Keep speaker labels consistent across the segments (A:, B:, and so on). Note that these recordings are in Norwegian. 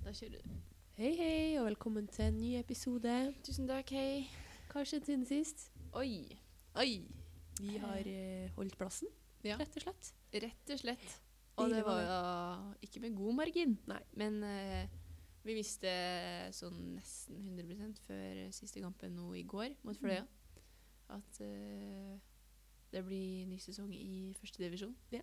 A: da kjører du.
B: Hei, hei, og velkommen til en ny episode.
A: Tusen takk, hei.
B: Hva har skjedd siden sist?
A: Oi. Oi.
B: Vi har eh, holdt plassen,
A: Ja.
B: rett og slett.
A: Rett og slett. Og
B: Deilig
A: det
B: var
A: var
B: det.
A: jo ikke med god margin.
B: Nei.
A: Men eh, vi visste sånn nesten 100 før siste kampen nå i går mot
B: Mm.
A: Fløya at eh, det blir ny sesong i førstedivisjon.
B: Ja.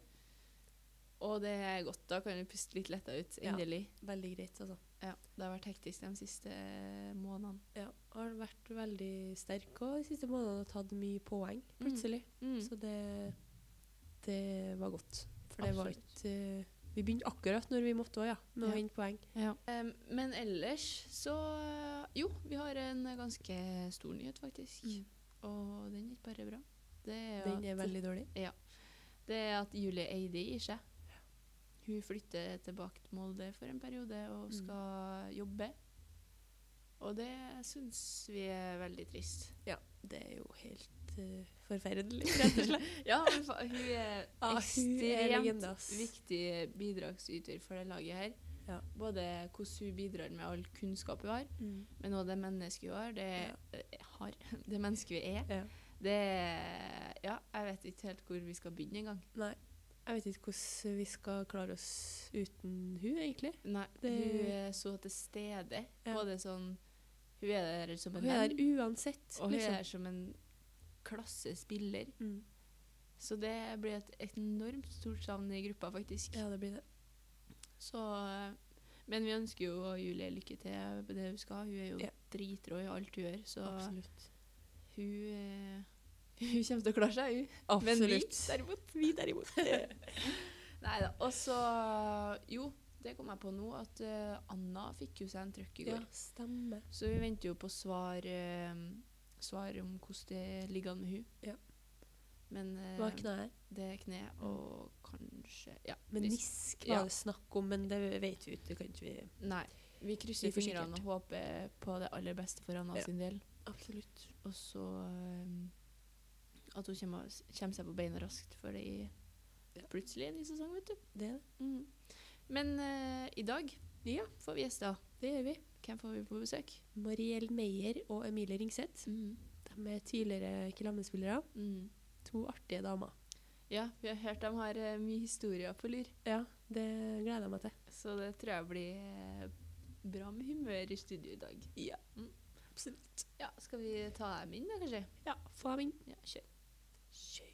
A: Og det er godt. Da kan vi puste litt letta ut.
B: Ja.
A: Endelig.
B: Veldig greit, altså.
A: Ja, det har vært hektisk de siste eh, månedene.
B: Ja, har vært veldig sterk og de siste månedene har tatt mye poeng, plutselig.
A: Mm.
B: Så det, det var godt. For det var
A: Absolutt.
B: ikke eh, Vi begynte akkurat når vi måtte òg, ja, med
A: Ja.
B: å hente poeng.
A: Em, men ellers så Jo, vi har en ganske stor nyhet, faktisk.
B: Mm.
A: Og den er ikke bare bra. Det er, jo
B: Den er
A: at,
B: veldig dårlig.
A: det er at Julie Eide gir seg. Hun flytter tilbake til Molde for en periode og
B: Mm.
A: skal jobbe. Og det syns vi er veldig trist.
B: Det er jo helt eh, forferdelig, rett og slett.
A: Ja, men fa hun er
B: Ja, Ah, hun er
A: ekstremt
B: legende, ass.
A: viktig bidragsyter for det laget her.
B: Ja.
A: Både hvordan hun bidrar med all kunnskap hun har,
B: Mm.
A: men òg det mennesket hun har. Det, eh, har, det mennesket vi er.
B: Ja.
A: Det Ja, jeg vet ikke helt hvor vi skal begynne engang.
B: Nei. Jeg vet ikke hvordan vi skal klare oss uten hun, egentlig.
A: Nei,
B: Det-
A: Hun er så til stede.
B: Ja.
A: Både sånn Hun er der som en
B: Hun er
A: venn,
B: der uansett,
A: og hun er
B: liksom.
A: der som en klassespiller.
B: Mm.
A: Så det blir et enormt stort savn i gruppa, faktisk.
B: Ja, det blir det.
A: Så, eh, men vi ønsker jo Julie lykke til på det hun skal. Hun er jo
B: Ja.
A: dritrå i alt hun gjør, så
B: Absolutt.
A: hun, eh, hun kommer til å klare seg, hun. Men vi
B: Absolutt.
A: derimot
B: vi derimot.
A: Nei da. Og så Jo, det kom jeg på nå, at eh, Anna fikk jo seg en trøkk i
B: ja,
A: går.
B: stemmer.
A: Så vi venter jo på svar, eh, svar om hvordan det ligger an med hun.
B: Ja.
A: Men eh,
B: Det var Mm. kneet.
A: det er kne og kanskje Ja.
B: Men
A: vi-
B: nisk var
A: ja.
B: det snakk om, men det vet vi ikke. Det kan ikke vi
A: Nei. Vi krysser
B: Det er for
A: fingrene og håper på det aller beste for Anna
B: Ja.
A: sin del.
B: Absolutt.
A: Og så um, at hun kommer, kommer seg på beina raskt, for det er
B: Ja.
A: plutselig en ny sesong, vet du.
B: Det,
A: Men eh, i dag
B: Ja.
A: får vi gjester.
B: det gjør vi.
A: Hvem får vi på besøk?
B: Mariell Meyer og Emilie Ringseth. De er tidligere Killehammer-spillere.
A: Mm.
B: To artige damer.
A: Ja, vi har hørt de har eh, mye historier på lur,
B: Ja, det gleder jeg meg til.
A: så det tror jeg blir eh, bra med humør i studio i dag.
B: Ja.
A: Mm.
B: Absolutt.
A: Ja, Skal vi ta dem inn, da, kanskje?
B: Ja, få dem inn.
A: Ja, kjør.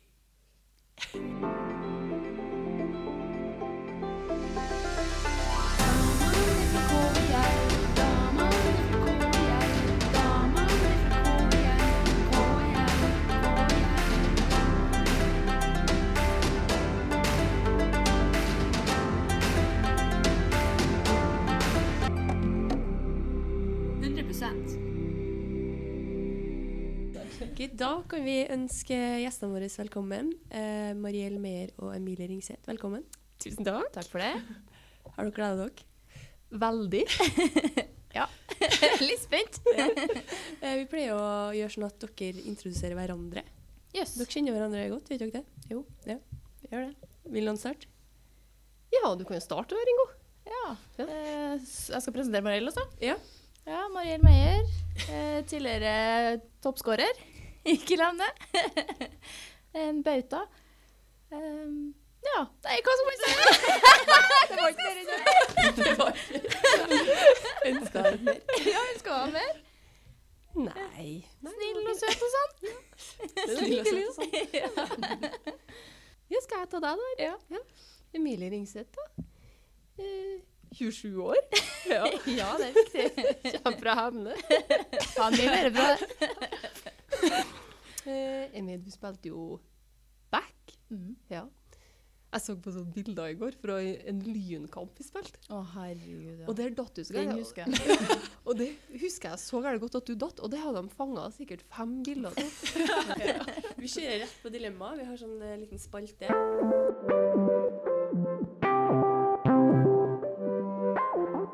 B: Ok, da kan vi ønske gjestene våre velkommen. Eh, Mariell Meyer og Emilie Ringseth, velkommen. Tusen takk.
A: Takk for det.
B: Har dere gleda dere?
A: Veldig. ja. Litt spent.
B: Eh, vi pleier å gjøre sånn at dere introduserer hverandre.
A: Yes.
B: Dere kjenner hverandre godt, vet dere det? Jo. Ja.
C: Gjør det.
B: Vil noen starte?
C: Ja, du kan jo starte, Ringo.
A: Ja.
C: Eh, s- Jeg skal presentere Mariell også.
B: Ja.
C: Ja, Mariell Meyer. eh, Tidligere toppskårer. Ikke glem det. En bauta. Em, Ja. Nei, hva skal man si? Det var ikke mer enn det.
B: Ønsker dere mer?
C: Ja, hun skal ha mer.
B: Nei.
C: Snill og søt og sånn.
B: Snill og søt og sånn.
C: Ja, skal jeg ta deg, da? Ja.
B: Emilie Ringseth, da.
C: Eh, 27 år. Ja, det er riktig.
B: Kommer fra Hemne.
C: Faen, mye mer bra.
D: Eh,
C: Emil, du spilte jo back. Ja.
D: Jeg så på sånne bilder i går fra en lynkamp vi spilte.
C: Å, herregud, ja.
D: Og der datt du så
C: Den
D: gærent.
C: husker jeg.
D: Og det husker jeg så gærent godt at du datt, og det hadde de fanga sikkert fem bilder av.
B: Vi kjører rett på dilemmaet. Vi har sånn eh, liten spalte.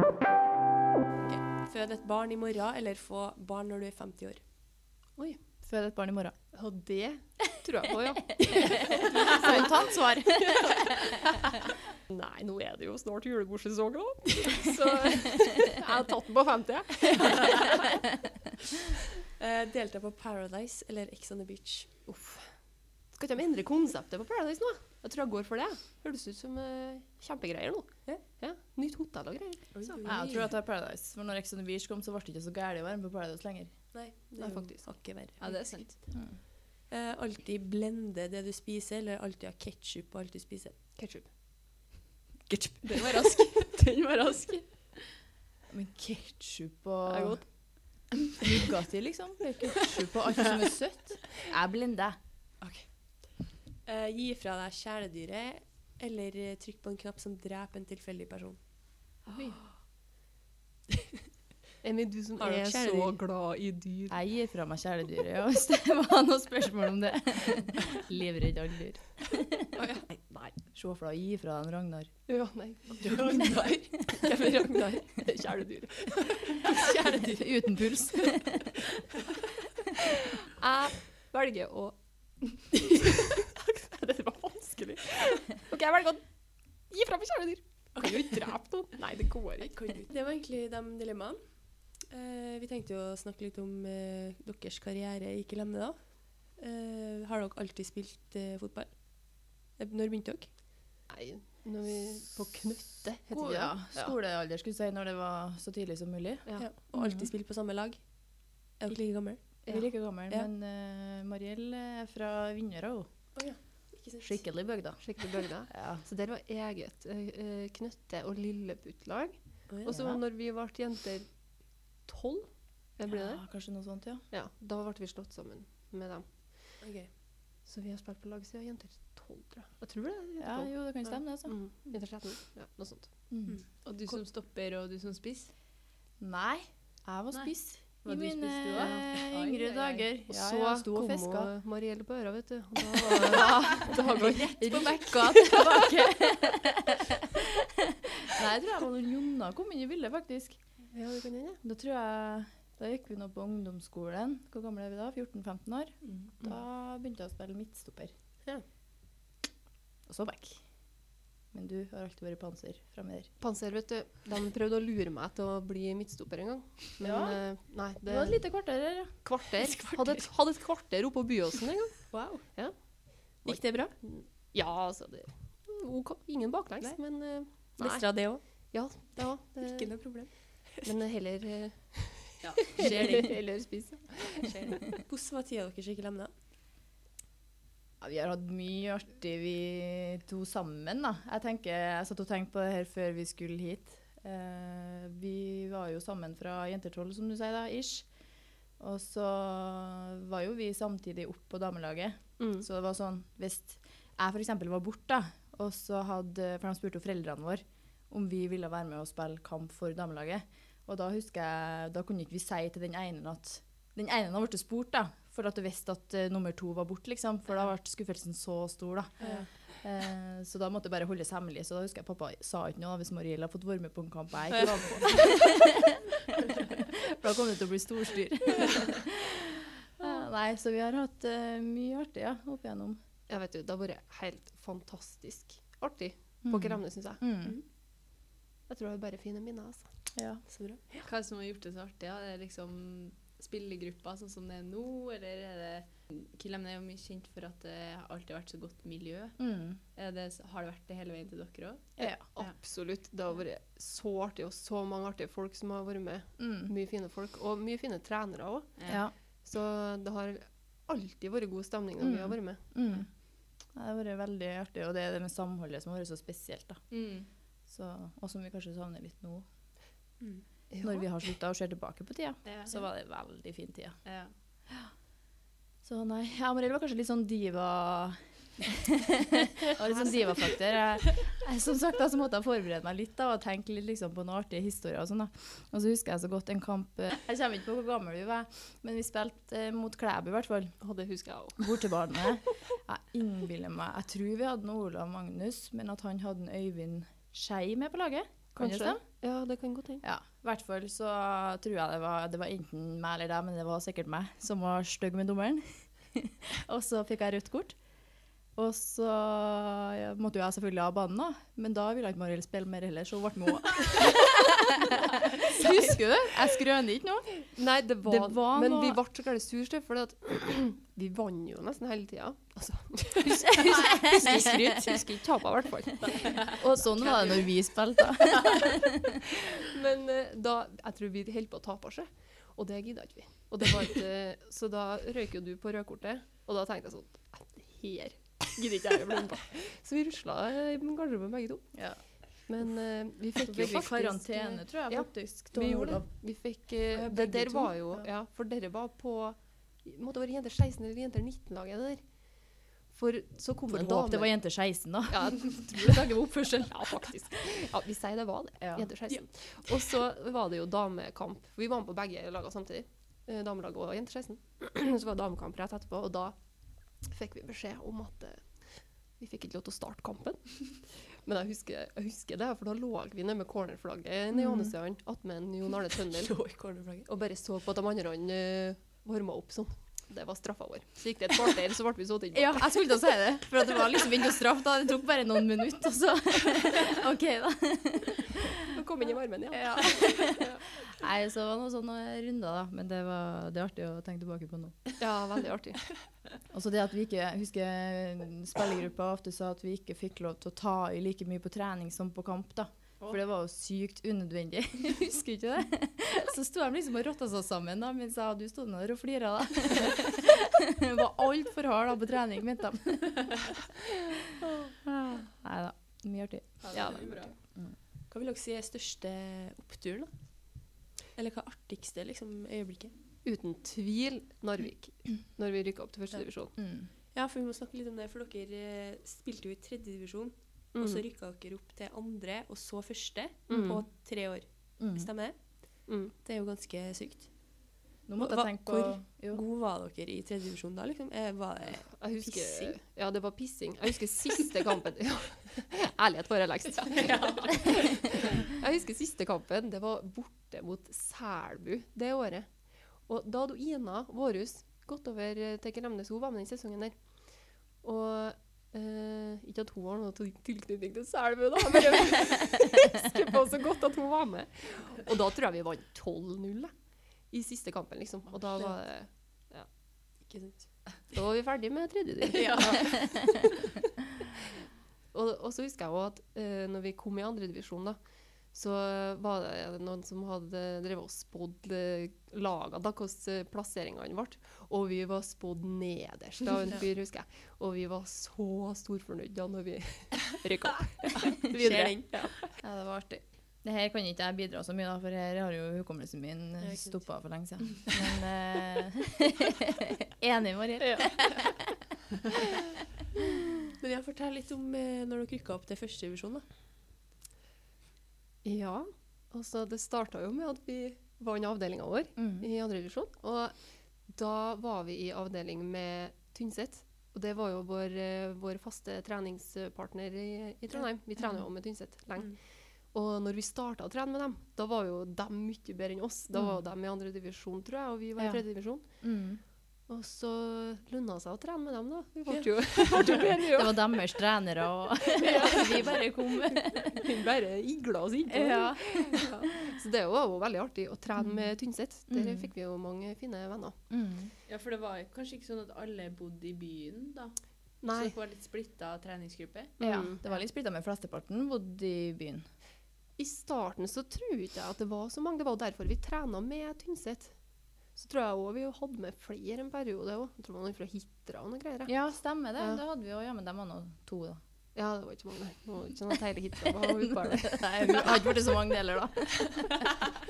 B: Ok. Fød et barn i morgen, eller få barn når du er 50 år.
C: Fød et barn i morgen.
D: Og det tror jeg på, ja.
C: Spontant svar.
D: Nei, nå er det jo snart julebordsesong, da. Så
B: har tatt den på 50.
E: Eh, delte jeg på Paradise eller Ex on the Beach?
B: Uff. Skal ikke de endre konseptet på Paradise nå? Jeg tror jeg går for det. Høres ut som eh, kjempegreier nå.
E: Ja.
B: Nytt hotell og greier.
F: Jeg tror at det er Paradise. For når Ex on the Beach kom, så ble det ikke så gærent å være med på Paradise lenger.
E: Nei, det
B: Nei,
E: er
B: faktisk.
E: faktisk hakket verre.
A: Ja, det er sant.
E: Eh, alltid blende det du spiser, eller alltid ha ketsjup og alltid spise
B: Ketchup.
A: Den var rask. Den var rask.
F: Men ketsjup
B: Det er
F: og
B: godt.
F: Nugatti, liksom. Ketsjup og alt som er søtt. Jeg blender.
E: Eh, gi fra deg kjæledyret, eller eh, trykk på en knapp som dreper en tilfeldig person.
B: Emmy, du som
E: Har dere
B: er så
E: kjæledyr?
B: glad i dyr.
F: Jeg gir fra meg kjæledyret, ja, hvis det var noe spørsmål om det. Livredd alle dyr.
B: Nei. Nei.
F: Se for deg å gi fra deg en Ragnar.
B: Ja, nei. Ragnar. Hvem er Ragnar? Kjæledyr.
F: Kjæledyr uten puls.
B: Jeg velger å Det var vanskelig. OK, jeg velger å gi fra meg kjæledyr. Jeg kan jo ikke drepe noen. Nei, det går ikke.
E: Det var egentlig de dilemmaene. Eh, vi tenkte jo å snakke litt om eh, deres karriere i Klemne, da. Eh, har dere alltid spilt eh, fotball? Eh, Når begynte dere?
B: Nei, når vi På knøtte, heter
F: God,
B: det.
F: ja.
B: Ja.
F: Skolealder, skulle jeg si, når det var så tidlig som mulig.
B: Ja.
E: Og alltid
F: Mhm.
E: spilt på samme lag? Er dere like gamle?
F: Vi er like gammel,
E: Ja.
F: men eh, Mariell er fra Vinnøra òg. Skikkelig bygda.
B: Skikkelig bølger.
F: Ja.
B: Så der var eget eh, eh, knøtte- og lilleputtlag.
E: Å, ja.
B: Og så
F: Ja.
B: når vi ble jenter tolv, det ble det,
F: Ja, kanskje noe sånt, ja.
B: ja, da ble vi slått sammen med dem.
E: Ok.
B: Så vi har spilt på lag siden jenter tolv, tror jeg. Jeg tror det. er
F: ja.
B: Jenter 12.
F: Jo, det kan stemme, det. altså.
B: Mm. Jenter 13. Ja, noe sånt.
F: Mm.
A: Og du som stopper, og du som spiser.
F: Nei, jeg var
A: Nei.
F: spiss
A: Var
F: i
A: du
F: mine
A: spiss, du da?
F: eh,
A: Oi,
F: yngre
A: oi, oi.
F: dager.
B: Og
F: Ja,
B: så
F: jeg sto og
B: kom
F: fiska.
B: hun Marielle på øra, vet du. Og da var da var hun
F: Rett på bekka tilbake. Nei, jeg tror jeg var når Jonna kom inn i bildet, faktisk.
B: Ja, det kan hende.
F: Da tror jeg Da gikk vi nå på ungdomsskolen. Hvor gamle er vi da? 14-15 år?
G: Mm.
F: Da begynte jeg å spille midtstopper.
B: Ja.
F: Og så back. Men du har alltid vært panser framme der.
B: Panser, vet du. De prøvde å lure meg til å bli midtstopper en gang. Men
F: Ja.
B: eh, nei,
F: Det
B: det
F: var et lite kvarter her, ja.
B: kvarter. Hadde et, hadde et kvarter oppå Byåsen en gang.
E: Wow.
B: Ja.
E: Gikk det bra?
B: Ja, altså det mm, OK. Ingen baklengs, men eh, nei.
E: Mestra det òg?
B: Ja, det var
E: Ikke
B: det.
E: noe problem.
B: Men heller eh, Heller spise.
E: Hvordan var tida deres i Klemna?
F: Ja, vi har hatt mye artig, vi to sammen. da. Jeg, tenker, jeg satt og tenkte på det her før vi skulle hit. Eh, vi var jo sammen fra Jentertroll, som du sier, da, ish. Og så var jo vi samtidig opp på damelaget.
B: Mm.
F: Så det var sånn, hvis jeg f.eks. var borte, da, og så hadde, for de spurte jo foreldrene våre om vi ville være med og spille kamp for damelaget. Og da husker jeg, da kunne ikke vi si til den ene at Den ene hadde blitt spurt, da, for at du visste at eh, nummer to var borte, liksom. For da ble skuffelsen så stor, da. Eh, så da måtte det bare holdes hemmelig. Så da husker jeg pappa sa ikke noe da, hvis Mariell hadde fått være med på en kamp jeg ikke var med på. For da kom det til å bli storstyr. Eh, Nei, så vi har hatt eh, mye artig ja, opp igjennom.
B: Ja, vet du, det har vært helt fantastisk artig på Grevne, syns jeg.
F: Mm.
B: Jeg tror det er bare fine minner, altså.
F: Ja.
E: Så bra.
A: Hva er det som har gjort det så artig? Ja? Er det liksom spillegruppa sånn som det er nå, eller er det Killemn er jo mye kjent for at det har alltid vært så godt miljø.
F: Mm.
A: Er det, har det vært det hele veien til dere òg?
F: Ja.
B: Absolutt. Det har vært så artig, og så mange artige folk som har vært med.
F: Mm.
B: Mye fine folk, og mye fine trenere òg.
F: ja.
B: Så det har alltid vært god stemning når vi har
F: Mm.
B: vært med.
F: Mm. Nei, Det har vært veldig artig, og det er det med samholdet som har vært så spesielt. da.
A: Mm.
F: Så, og som vi kanskje savner litt nå, Mm.
B: Ja.
F: når vi har slutta og ser tilbake på tida.
A: Ja.
F: Så var det veldig fin tida.
A: ja.
F: Så nei, ja, Amarell var kanskje litt sånn diva... Det var litt sånn divafaktor. Jeg, jeg, som sagt da, så måtte jeg forberede meg litt da, og tenke litt liksom, på noen artige historier. Og sånn da. Og så husker jeg så godt en kamp eh, Jeg kommer ikke på hvor gammel vi var, men vi spilte eh, mot Klæbu i hvert fall.
B: Og det husker jeg òg.
F: Bortebane. Jeg innbiller meg Jeg tror vi hadde noe Olav Magnus, men at han hadde en Øyvind Skei med på laget. Kan det
B: Kanskje.
F: stemme?
B: Ja, det kan godt hende.
F: Ja, i hvert fall så tror jeg det var, det var enten meg eller deg, men det var sikkert meg som var stygg med dommeren. og så fikk jeg rødt kort. Og så ja, måtte jo jeg selvfølgelig av banen, da. Men da ville ikke Mariell spille mer heller, så hun ble med òg.
B: Husker
F: Husker du det? Jeg skrøner ikke nå.
B: Nei, det var,
F: Det var
B: Men
F: noe-
B: vi ble så gærent sur, for vi vant jo nesten hele tida. Altså,
F: Husker
B: husker skryt. Husker ikke tapet, i hvert fall.
F: Og sånn var det når vi spilte, da.
B: Men eh, da, jeg tror vi holdt på å tape oss, og det gidda ikke vi. Og det var ikke, eh, så da røyk jo du på rødkortet, og da tenkte jeg sånn "Nei, Her gidder ikke jeg å bli med på. Så vi rusla i garderoben begge to.
F: Ja.
B: Men eh, vi fikk jo faktisk
F: tror
B: Ja,
F: faktisk.
B: Vi gjorde det. Vi fikk, eh,
E: Ah, ja,
B: det
E: begge
B: der
E: to?
B: var jo
E: Ja.
B: Ja, for dere var på Måtte være jenter 16 eller jenter 19-laget, det der. For så kom det
F: Får
B: en
F: håpe
B: dame
F: det var jente 16, da.
B: Ja, tror jeg var oppførsel. Ja, faktisk. Ja, vi sier det var det.
F: Ja.
B: Jenter 16. Og så var det jo damekamp. Vi var med på begge lagene samtidig. Eh, Damelaget og jenter 16. Så var det damekamp rett etterpå, og da fikk vi beskjed om at eh, vi fikk ikke lov til å starte kampen. Men jeg husker, jeg husker det, for da lå vi nede med cornerflagget nede i
F: Mm.
B: Ånestøyene attmed Jon Arne Tøndel
E: Lå i cornerflagget.
B: og bare så på at de andre uh, varma opp sånn. Det var straffa vår. Så gikk det et kvarter, så ble vi satt inn.
F: Ja, jeg skulle til å si det. For at det var liksom ikke noe straff da. Det tok bare noen minutter, altså. og så OK, da.
B: Og kom inn i varmen, ja.
F: Nei, så var det noen sånne runder, da. Men det, var, det er artig å tenke tilbake på nå.
B: Ja, veldig artig.
F: Og så Altså, det at vi ikke Jeg husker spillergruppa ofte sa at vi ikke fikk lov til å ta i like mye på trening som på kamp, da. For det var jo sykt unødvendig. Husker ikke det? Så sto de liksom og rotta seg sammen, da, mens jeg og du sto nå der og flira, da. Jeg var altfor hard da på trening, mente de. Nei da. Mye artig.
B: Ja,
E: det
B: men-
E: var bra.
F: Mm.
E: Hva vil dere si er største oppturen, da? Eller hva er artigste liksom, øyeblikket?
B: Uten tvil Narvik, når vi rykka opp til første
E: Ja.
B: divisjon.
F: Mm.
E: Ja, for vi må snakke litt om det, for dere eh, spilte jo i tredje divisjon, og så rykka dere opp til andre, og så første,
B: Mm.
E: på tre år.
F: Mm.
E: Stemmer det?
B: Mm.
E: Mhm. Det er jo ganske sykt.
F: Nå måtte
E: Hva-
F: jeg tenke på jo.
E: Hvor god var dere i tredje divisjon da, liksom? Eh, var det
B: Jeg husker,
E: Pissing?
B: Ja, det var pissing. Jeg husker siste kampen ja. Ærlighet var relaxed. Jeg husker siste kampen. Det var borte mot Selbu det året. Og da hadde Ina Vårhus gått over eh, til Kelemnes. Hun var med den sesongen der. Og eh, ikke at hun har noe til- tilknytning til Selbu, da. Men jeg husker på så godt at hun var med. Og da tror jeg vi vant 12-0 da, i siste kampen, liksom. Og da var det
E: ikke sant?
B: da var vi ferdig med tredje del. og, og så husker jeg også at eh, når vi kom i andre divisjon, da, så var det noen som hadde drevet og spådd eh, lagene, da, hvordan eh, plasseringene ble. Og vi var spådd nederst av en
E: Ja.
B: fyr, husker jeg. Og vi var så storfornøyd da når vi rykka opp.
E: Ser
B: Videre.
E: den.
F: Ja, det var artig. Det her kan ikke jeg bidra så mye, da, for her har jo hukommelsen min
E: Ja, ikke sant.
F: stoppa for lenge siden. Men eh, Enig, Mariell.
E: Men jeg fortell litt om eh, når dere rykka opp til første divisjon, da.
B: Ja. Altså, det starta jo med at vi vant avdelinga vår.
F: Mm.
B: i andre divisjon. Og da var vi i avdeling med Tynset. Og det var jo vår, eh, vår faste treningspartner i, i Trondheim. Vi trener jo med Tynset lenge.
E: Mm.
B: Og når vi starta å trene med dem, da var jo de mye bedre enn oss. Da var jo de i andre divisjon, tror jeg, og vi var
F: Mm. Ja.
B: i tredje divisjon.
F: Mm.
B: Og så lønna det seg å trene med dem, da. Vi ble jo, ble jo bedre, vi
F: Det
B: òg.
F: var deres trenere, og vi bare kom.
B: Vi bare igla oss innpå.
F: Ja.
B: Så det var jo veldig artig å trene med Tynset. Der
F: Mm.
B: fikk vi jo mange fine venner.
F: Mm.
G: Ja, for det var jo kanskje ikke sånn at alle bodde i byen, da. Så
B: Nei.
G: det var litt splitta treningsgruppe.
F: Ja,
B: Mm.
F: det var litt splitta, men flesteparten bodde i byen.
B: I starten så tror ikke jeg at det var så mange. Det var jo derfor vi trena med Tynset. Så tror jeg òg vi hadde med flere en periode òg. Tror man var fra Hitra og noe greier. jeg.
F: Ja, stemmer det.
B: Ja.
F: Da hadde vi jo jammen dem andre to, da.
B: Ja, det var ikke mange. Det var ikke noe hele Hitra var utpå der.
F: Nei, vi har ikke blitt så mange deler, da.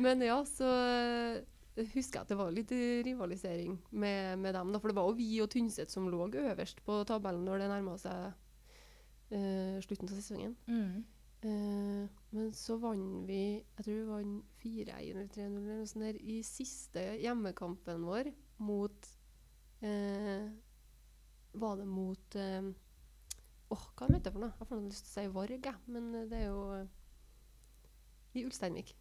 B: Men ja, så eh, husker jeg at det var litt eh, rivalisering med, med dem. Da, for det var jo vi og Tynset som lå øverst på tabellen når det nærma seg eh, slutten av sesongen.
F: Mm.
B: Eh, men så vant vi jeg tror vi vant 4-1 eller 3-0 eller noe sånt der, i siste hjemmekampen vår mot eh, Var det mot eh, Åh, hva heter det for noe? Jeg får noe lyst til å si Varg, jeg, men eh, det er jo eh, I Ulsteinvik.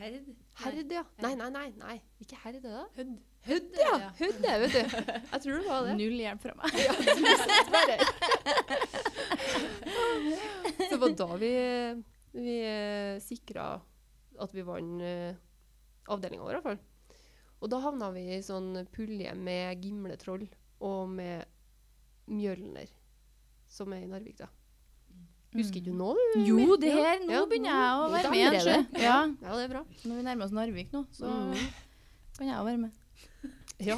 G: Herd?
B: Herd, ja. Nei, nei, nei. nei. Ikke Herd, er det da?
E: Hødd.
B: Hødd, ja. Hødd, ja, vet du. Jeg tror det var det.
F: Null hjelp fra meg.
B: Ja, dessverre. Så det var da vi, vi sikra eh, at vi vant eh, avdelinga vår, i hvert fall. Og da havna vi i sånn pulje med Gimletroll og med Mjølner, som er i Narvik, da. Husker ikke du nå, du?
F: Mm. Jo, det
B: Ja.
F: her, nå
B: Ja.
F: begynner jeg å
B: Mm.
F: være
B: Da
F: med igjen.
B: angrer jeg
F: sjø. Ja,
B: Ja, det er bra.
F: når vi nærmer oss Narvik nå, så
B: Mm.
F: kan jeg være med.
B: Ja.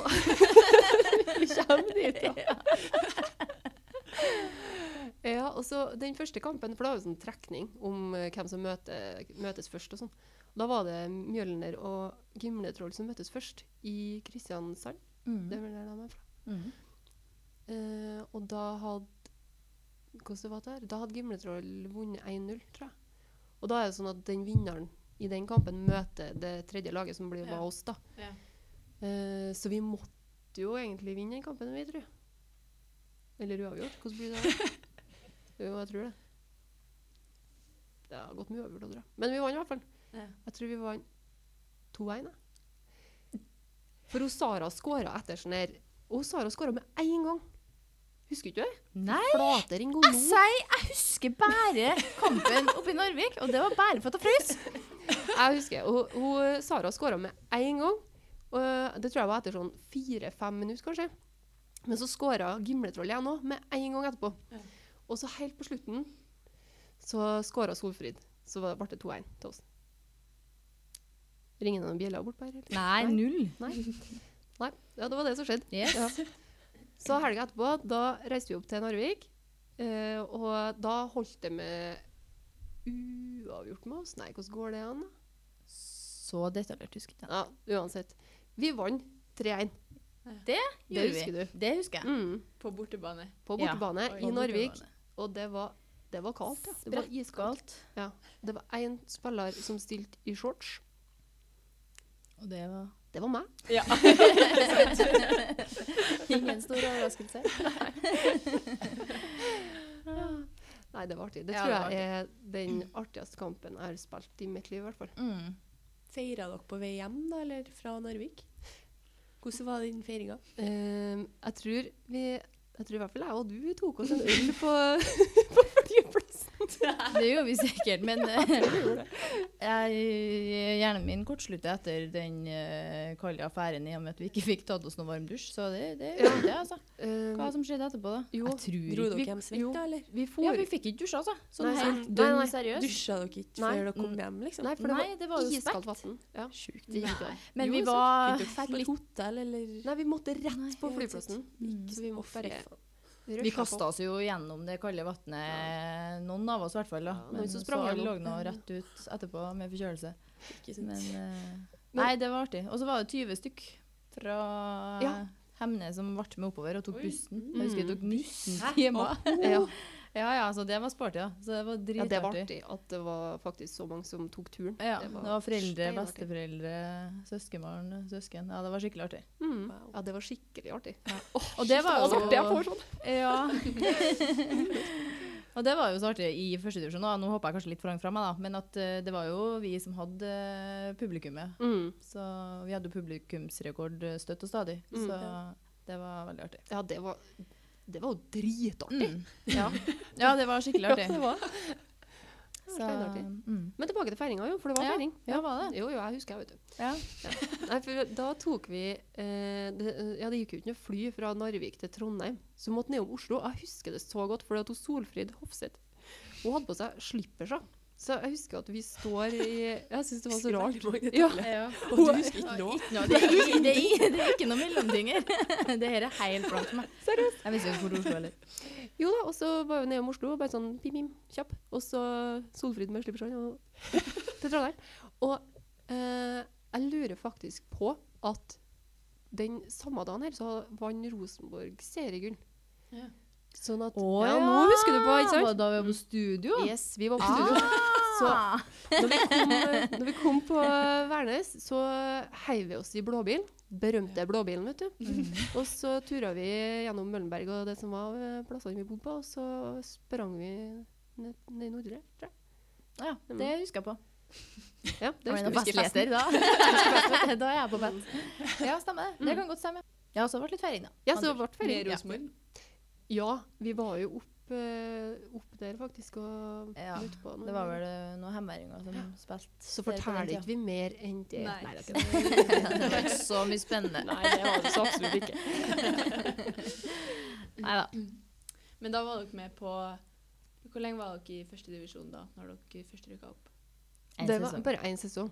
B: Vi kommer dit, da. Ja, og så Den første kampen, for det var jo sånn trekning om eh, hvem som møter, møtes først. og sånn. Da var det Mjølner og Gimletroll som møttes først, i Kristiansand. Det er vel der de er fra.
F: Mm.
B: Eh, og da hadde Hvordan det var der? Da hadde Gimletroll vunnet 1-0, tror jeg. Og da er det sånn at den vinneren i den kampen møter det tredje laget, som blir
G: Ja.
B: var oss, da.
G: Ja.
B: Eh, så vi måtte jo egentlig vinne den kampen, vi, tror jeg. Eller uavgjort. Hvordan blir det? da? jo, jeg tror det. Det har gått mye uavgjort, tror jeg. Men vi vant i hvert fall.
G: Ja.
B: Jeg tror vi vant 2-1. jeg. For hun Sara skåra etter sånn her Hun Sara skåra med én gang. Husker ikke du det?
F: Nei,
B: Flatering
F: jeg
B: Golo.
F: sier jeg husker bare kampen oppe i Narvik, og det var bare for at jeg frøs.
B: Jeg husker, og hun, Sara skåra med én gang. Og det tror jeg var etter sånn fire-fem minutter, kanskje. Men så skåra Gimletroll igjen òg, med én gang etterpå.
G: Ja.
B: Og så helt på slutten så skåra Solfrid. Så var- ble det 2-1 til oss. Ringer det noen bjeller bortpå her? eller?
F: Nei, null.
B: Nei. Nei. Ja, det var det som skjedde.
F: Yes.
B: Ja. Så helga etterpå, da reiste vi opp til Narvik. eh, og da holdt det med uavgjort med oss. Nei, hvordan går det an? da?
F: Så detaljert husket jeg.
B: Ja, uansett. Vi vant 3-1
F: Gjorde vi.
B: husker du.
F: Det husker jeg.
B: mm,
G: På bortebane.
B: på
F: Ja.
B: bortebane
G: Oi.
B: i Narvik. Og det var, det var kaldt, ja. Det var iskaldt.
F: Galt.
B: Ja. Det var én spiller som stilte i shorts.
F: Og det var
B: Det var meg.
G: Ja.
B: Ingen stor overraskelse. Nei, det var artig. Det
F: Ja,
B: tror
F: det var
B: jeg er den artigste kampen jeg har spilt i mitt liv, i hvert fall.
F: mm.
E: Feira dere på vei hjem, da, eller fra Narvik? Hvordan var den feiringa?
B: Ehm, jeg tror vi jeg tror i hvert fall jeg og du tok oss en øl på, på flyplassen.
F: Det gjorde vi sikkert, men eh, jeg, hjernen min kortslutta etter den eh, kalde affæren i og med at vi ikke fikk tatt oss noen varm dusj. Så det, det gjorde det, altså.
B: Ehm,
F: Hva som skjedde etterpå, da?
B: Jo,
F: jeg tror
E: Dro
F: ikke
E: dere
F: vi
E: hjem svett,
B: jo.
E: da, eller?
B: vi for,
F: Ja, vi fikk ikke dusja, altså. Sånn
B: Nei,
F: helt
B: sant. Nei,
F: dønn
B: nei.
F: seriøst.
E: Dusja dere ikke
B: Nei.
E: før dere kom hjem, liksom?
B: Nei, for det
F: Nei,
B: var,
F: det var jo
B: iskaldt
F: spekt.
B: vann. Ja.
E: Sjukt.
B: Det gikk an.
F: Men
B: Jo,
F: vi
B: sant.
F: var
E: Dere fikk på et hotell, eller
B: Nei, vi måtte rett
F: Nei,
B: på
E: jeg vet
B: flyplassen.
F: Mm.
B: Så vi
E: Å,
B: måtte
E: fy
B: bare
E: faen.
F: Vi kasta oss jo gjennom det kalde vannet, eh, noen av oss i hvert fall. da.
B: Ja, noen
F: Men
B: som
F: så
B: sprang
F: alle lå
B: gjennom.
F: nå rett ut etterpå med forkjølelse.
E: Ikke sant.
F: Men, eh, nei, det var artig. Og så var det 20 stykk fra
B: Ja. Mm.
F: Hemne som ble med oppover og tok
G: Oi.
F: bussen. Jeg husker det tok 19
B: Ja.
F: timer.
B: Ja.
F: Ja, ja, så det var sporty, ja. Så det var
B: ja, det var
F: dritartig.
B: artig at det var faktisk så mange som tok turen.
F: Ja, det var foreldre,
B: steinartig.
F: besteforeldre, søskenbarn, søsken. Ja, det var skikkelig artig.
B: Mm.
E: Wow.
B: Ja, det var skikkelig artig.
F: Og det var
B: Så
F: jo
B: artig jeg får sånn.
F: Ja. og det var jo så artig i første divisjon. da. Nå hoppa jeg kanskje litt for langt fram, jeg da. men at eh, det var jo vi som hadde eh, publikummet.
B: Mm.
F: Så vi hadde jo publikumsrekord eh, støtt og stadig.
B: Mm.
F: Så det var veldig artig.
B: Ja, det var, det var jo dritartig.
F: Mm. Ja. ja, det var skikkelig artig.
B: Ja, det var.
F: Så,
B: steinartig.
F: mm.
B: Men tilbake til feiringa, jo, for det var
F: Ja,
B: feiring.
F: ja, var det.
B: Jo, jo, jeg husker jeg, vet du.
F: Ja.
B: Nei, for da tok vi eh, det, Ja, det gikk jo ikke noe fly fra Narvik til Trondheim, så vi måtte nedom Oslo. Jeg husker det så godt, for det at hun Solfrid Hofseth Hun hadde på seg slippersa. Så jeg husker at vi står i Jeg syns det var så rart. Ja,
F: Ja.
E: Og du husker ikke nå?
F: Ikke noe, det, er, ikke- det, er, det er ikke noe mellomting her. Det her er helt blankt for meg. Seriøst? Jeg visste jo ikke hvor Oslo heller.
B: Jo da, og så var jo nede om Oslo, bare sånn pim-pim, kjapp. Og så Solfrid med slippersand og opp til Trondheim. Og eh, jeg lurer faktisk på at den samme dagen her så vant Rosenborg seriegull.
G: Ja.
B: Sånn at
F: Å
B: Ja, nå husker du på, ikke sant?
F: Var det Ah. Da vi var på studio.
B: Yes, vi var på studio. Så
F: Ah!
B: når vi kom, når vi kom på Værnes, så heiv vi oss i blåbilen. Berømte blåbilen, vet du.
F: Mm.
B: Og så tura vi gjennom Møllenberg og det som var eh, plassene vi bodde på, og så sprang vi ned, ned i Nordre, tror jeg.
F: Ja, det husker jeg på.
B: Ja, det husker jeg.
F: festligheter, da. da er jeg på band. Ja, stemmer det. Det kan godt stemme. Ja, så ble det litt feiring, da.
B: Ja, så ble det
G: Med
B: ferie. Ja.
G: Rosenborg.
B: ja, vi var jo oppe eh, opp der faktisk og
F: Ja,
B: møtte på noen.
F: Det var vel eh, noen hemmerringer som spilte.
B: Så
F: på den
B: forteller
F: tida.
B: ikke vi mer enn det.
G: Nei.
B: det er ikke det.
F: Det var ikke sånn. så mye spennende.
B: Nei, det var det så absolutt ikke.
F: Nei da.
A: Men da var dere med på Hvor lenge var dere i førstedivisjon da? Når dere først rykka opp?
F: En
B: Det var
F: sesong.
B: bare én sesong.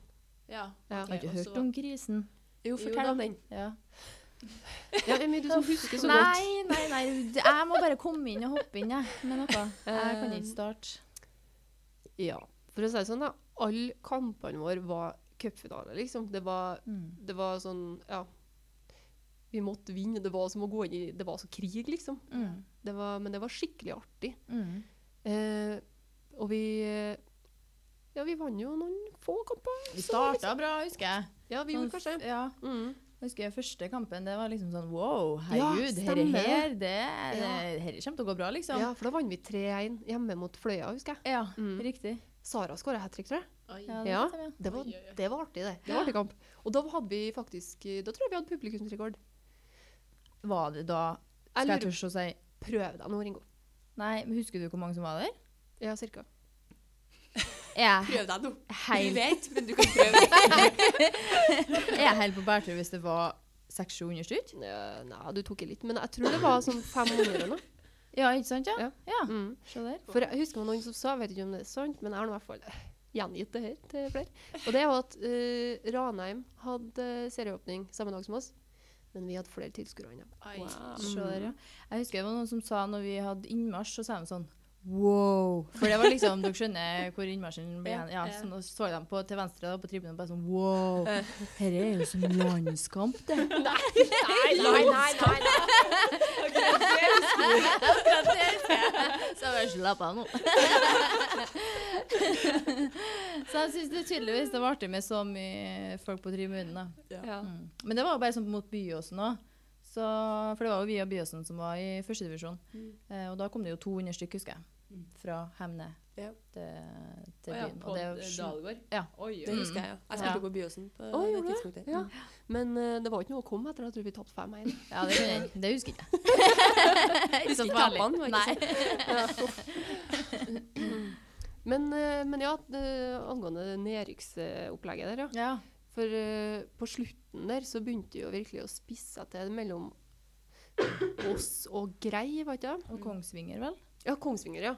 A: Ja.
B: Ja.
F: Har ikke
A: og så-
F: hørt om grisen.
A: Jo
E: Jo,
A: da.
E: fortell om den.
F: Ja.
B: Ja, Emmy, du som husker så
F: nei,
B: godt.
F: nei, nei. d- Jeg må bare komme inn og hoppe inn jeg, med noe. Jeg kan ikke starte.
B: Ja. For å si det sånn, da. Alle kampene våre var cupfinale, liksom. Det var,
F: Mm.
B: det var sånn Ja. Vi måtte vinne. Det var som å gå inn i Det var som krig, liksom.
F: Mm.
B: Det var, men det var skikkelig artig.
F: Mm.
B: Eh, og vi eh, Ja, vi vant jo noen få kamper.
F: Vi starta bra, husker jeg.
B: Ja, vi gjorde kanskje
F: Sånn, Ja,
B: mm.
F: jeg husker første kampen. Det var liksom sånn wow,
B: Ja,
F: herregud, herre
B: stemmer.
F: her, det, det
B: Ja.
F: herre kommer til å gå bra, liksom.
B: Ja, for da vant vi 3-1 hjemme mot Fløya, husker jeg.
F: Ja,
B: Mm.
F: riktig.
B: Sara skåra hat trick, tror jeg.
A: Oi.
F: Ja, det
B: Ja.
F: vet jeg,
B: Det var,
A: Oi, oi, oi.
B: det var artig, det. Det var artig kamp. Og da hadde vi faktisk eh, Da tror jeg vi hadde publikumsrekord.
F: ja. Var det da
B: Jeg
F: Skal jeg
B: lurer
F: tørre å si
B: Prøv deg nå, Ringo.
F: Nei, men husker du hvor mange som var der?
B: Ja, cirka.
F: Jeg
E: Prøv deg nå.
F: er
E: Vi
F: helt,
E: vet, men du kan prøve.
F: jeg er helt på bærtur hvis det var 600-700 stykker.
B: Nei, nei, du tok i litt. Men jeg tror det var sånn 500 eller noe.
F: Ja, ikke sant? Ja.
B: Ja.
F: ja.
B: Mm.
F: Se der.
B: For jeg husker det var noen som sa, jeg vet ikke om det er sant, men jeg har nå i hvert fall gjengitt det her til flere. Og det var at eh, Ranheim hadde eh, serieåpning samme dag som oss, men vi hadde flere tilskuere enn dem. Mm.
A: Oi.
F: Se der, ja. Jeg husker det var noen som sa når vi hadde innmarsj, så sa de sånn Wow! For det var liksom, dere skjønner hvor innmarsjen ble
E: Ja,
F: hen. Ja, sånn,
A: ja.
F: så nå så de på, til venstre da, på tribunen og bare sånn Wow! Herre er jo som landskamp, det.
B: Nei, nei, nei, nei, nei.
F: Så jeg bare slapp av nå. så jeg syns det tydeligvis det var artig med så mye folk på tribunen, da.
B: Ja.
F: Mm. Men det var jo bare sånn mot Byåsen òg. For det var jo via Byåsen som var i førstedivisjon.
E: Mm.
F: Eh, og da kom det jo 200 stykk, husker jeg. Fra Hemne
E: Ja.
F: til,
G: Å
F: til
G: ja,
F: byen.
G: på
F: Og det,
G: D-
F: slu-
G: Dalgård?
F: Ja. Mm.
G: Oi,
E: Det
G: oi.
E: husker jeg, ja. Jeg
F: Ja.
E: spilte på Byåsen på
B: Å, gjorde
E: det
B: du?
E: tidspunktet.
B: Ja. Men eh, det var ikke noe å komme etter. Jeg tror vi tapte 5-1.
F: ja, det, kunne jeg- det husker jeg ikke. Ikke så
E: Husker ikke
F: farlig.
E: tapene, var ikke
F: Nei.
B: sånn? Men, eh, men ja, det- angående nedrykksopplegget der, ja.
F: Ja.
B: For eh, på slutten der så begynte det jo virkelig å spisse seg til mellom oss og Grei, var ikke det?
F: Og Kongsvinger, vel?
B: Ja, Kongsvinger, ja.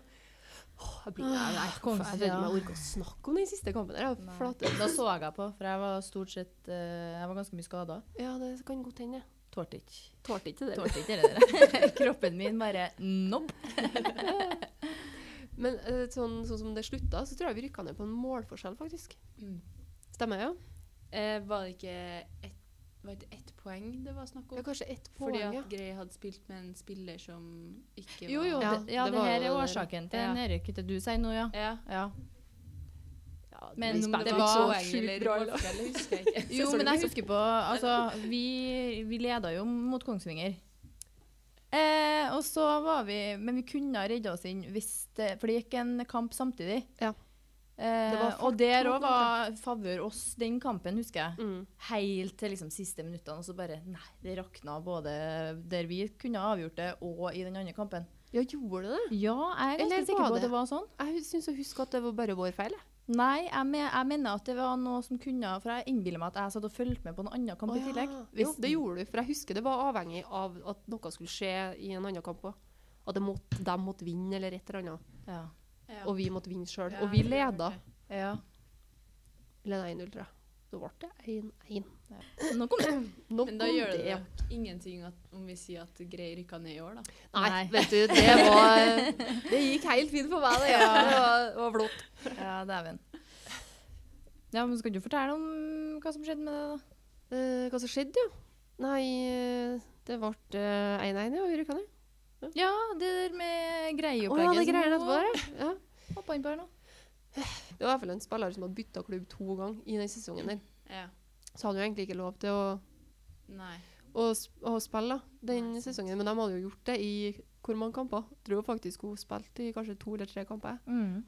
B: Åh, jeg blir, jeg, jeg, jeg vet
F: Kongsvinger,
B: ikke om
F: ja.
B: jeg orker å snakke om den siste kampen der. Jeg
F: Nei.
B: flate.
F: Da så jeg på, for jeg var stort sett eh, Jeg var ganske mye skada.
B: Ja, det kan godt hende. jeg.
F: Tålte ikke.
B: Tålte ikke det.
F: Tålte ikke det der. Kroppen min bare nobb.
B: Men eh, sånn, sånn som det slutta, så tror jeg vi rykka ned på en målforskjell, faktisk.
A: Mm.
B: Stemmer, ja?
A: Eh, var det ikke ett, var det ett poeng det var snakk om?
B: ja kanskje ett poeng,
A: Fordi
B: ja.
A: at Grey hadde spilt med en spiller som ikke var
F: Jo, jo.
B: Ja,
F: Ja, det, ja,
B: det
F: det,
B: var
F: her
B: jo
F: er
B: det der.
F: årsaken til
A: Ja.
F: nedrykket til du sier nå, ja.
A: Ja.
F: ja.
B: ja
F: Men om det
B: spennende.
F: var
B: Så
A: poeng
B: sjukt
A: eller
B: bra,
A: mål, eller husker jeg ikke.
F: Jo, men jeg husker på Altså, vi, vi leda jo mot Kongsvinger. Eh, og så var vi Men vi kunne ha redda oss inn hvis det For det gikk en kamp samtidig.
B: Ja.
F: Eh,
B: Det var fart
F: og der
B: mot
F: òg var favør oss den kampen, husker jeg.
B: Mm.
F: Helt til liksom siste minuttene, og så bare Nei, det rakna både der vi kunne ha avgjort det, og i den andre kampen.
B: Ja, gjorde det det?
F: Ja, jeg er
B: Eller
F: ganske
B: var
F: sikker på
B: det?
F: at det var sånn.
B: Jeg syns å huske at det var bare vår feil. jeg.
F: Nei, jeg, me jeg mener at det var noe som kunne For jeg innbiller meg at jeg satt og fulgte med på en annen kamp
B: Å,
F: i tillegg.
B: ja. Jo, det gjorde du, for jeg husker det var avhengig av at noe skulle skje i en annen kamp òg. At det måtte, de måtte vinne eller et eller annet.
F: Ja.
A: Ja.
B: Og vi måtte vinne sjøl.
A: Ja,
B: Og vi
A: det var
B: leda.
A: det.
F: ja.
B: Eller 1-0, tror jeg. Da ble det 1-1.
F: Nå kom det.
B: Nok
A: Men da
B: om
A: gjør det nok ingenting at, om vi sier at Grey rykka ned i år, da.
B: Nei,
F: Nei.
B: vet du, det var Det gikk helt fint for meg, det. Ja. Det var, det var flott.
F: Ja, dæven. Ja, men skal du fortelle om hva som skjedde med det, da?
B: Eh, hva som skjedde, ja? Nei, eh, det ble eh, 1-1, ja. Vi rykka ned.
F: Ja, det der med
B: Å ja,
F: greieopplegget.
B: det greier etterpå der, ja. ja.
F: ja. Hoppa inn på her nå.
B: Det var i hvert fall en spiller som hadde bytta klubb to ganger i den sesongen der.
A: Ja.
B: Så han hadde jo egentlig ikke lov til å
A: Nei.
B: å, sp- å spille da, den sesongen, men de hadde jo gjort det i hvor mange kamper? Jeg tror faktisk hun spilte i kanskje to eller tre kamper.
F: Mm.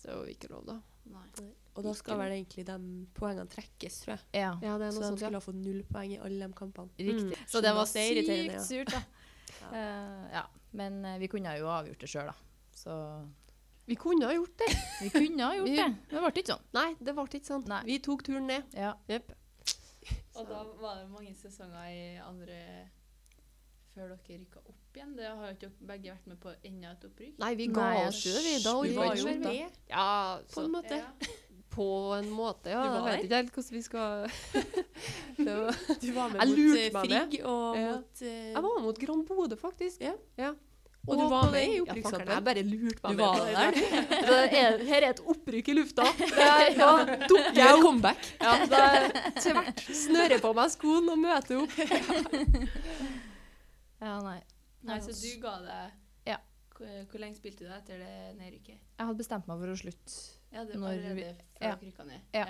B: Så det var jo ikke lov, da.
A: Nei.
E: Og da skal vel egentlig de poengene trekkes, tror jeg.
F: Ja,
B: Ja, det er noe
E: Så de
B: sånt, ja.
E: skulle ha fått null poeng i alle de kampene.
F: riktig.
B: Mm.
F: Så det var
E: Skjønner at det er irriterende,
F: sykt
E: ja.
F: surt, da.
E: Ja.
F: Eh, ja. Men eh, vi kunne jo ha avgjort det sjøl, da. Så
B: Vi kunne ha gjort det.
F: vi kunne ha gjort
B: Vi-
F: det. Men det ble ikke sånn.
B: Nei, det ble ikke sånn.
F: Nei.
B: Vi tok turen ned.
F: Ja.
B: Jep.
G: Og da var det mange sesonger i andre før dere rykka opp igjen. Det har jo ikke dere begge vært med på enda et opprykk.
B: Nei, vi ga
F: Nei,
B: oss jo det, vi. Da
G: Du
B: orket
G: var
B: vi
G: jo
B: ikke mer, vi.
G: med.
B: Ja, på en
G: Så-
B: måte.
G: Ja.
B: På en måte, ja.
E: Du
B: Jeg
E: var
B: vet ikke helt hvordan vi skal det var...
E: Du var med
B: Jeg
E: mot
B: lurte
E: eh,
B: meg med.
E: Frigg og
B: Ja.
E: mot eh,
B: Jeg var mot Gran Bodø, faktisk.
E: Ja.
B: Og,
E: du var
B: på
E: med
B: den-
E: i
B: Ja, faen,
E: opprykkskampen.
B: Jeg bare lurte meg
E: Du var
B: med.
E: der.
B: Det er, her er et opprykk i lufta. Det er, ja, dukker jeg opp.
E: comeback.
B: Ja, da kommer jeg snører på meg skoene og møter opp.
F: ja, nei.
G: Nei, så du ga deg
F: Ja.
G: Hvor, hvor lenge spilte du etter det nedrykket?
F: Jeg hadde bestemt meg for å slutte.
G: Ja, det var
F: Når vi-
G: allerede før
F: ja.
G: dere rykka ned.
F: Ja.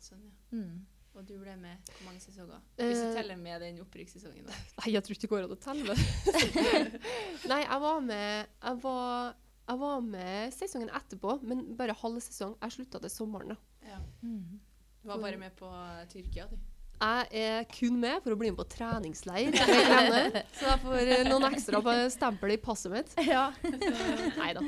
G: Sånn, ja.
F: Mm.
G: Og du ble med hvor mange sesonger? Hvis
B: Eh,
G: du teller med den opprykkssesongen. da.
B: Nei, jeg tror ikke det går an å telle. Nei, jeg var med jeg var, jeg var med sesongen etterpå, men bare halv sesong. Jeg slutta til sommeren. da.
G: Ja.
F: Mm.
G: Du var bare med på Tyrkia, du.
B: Jeg er kun med for å bli med på treningsleir. med Grønne, Så jeg får eh, noen ekstra på stempel i passet mitt.
F: Ja.
B: Nei da.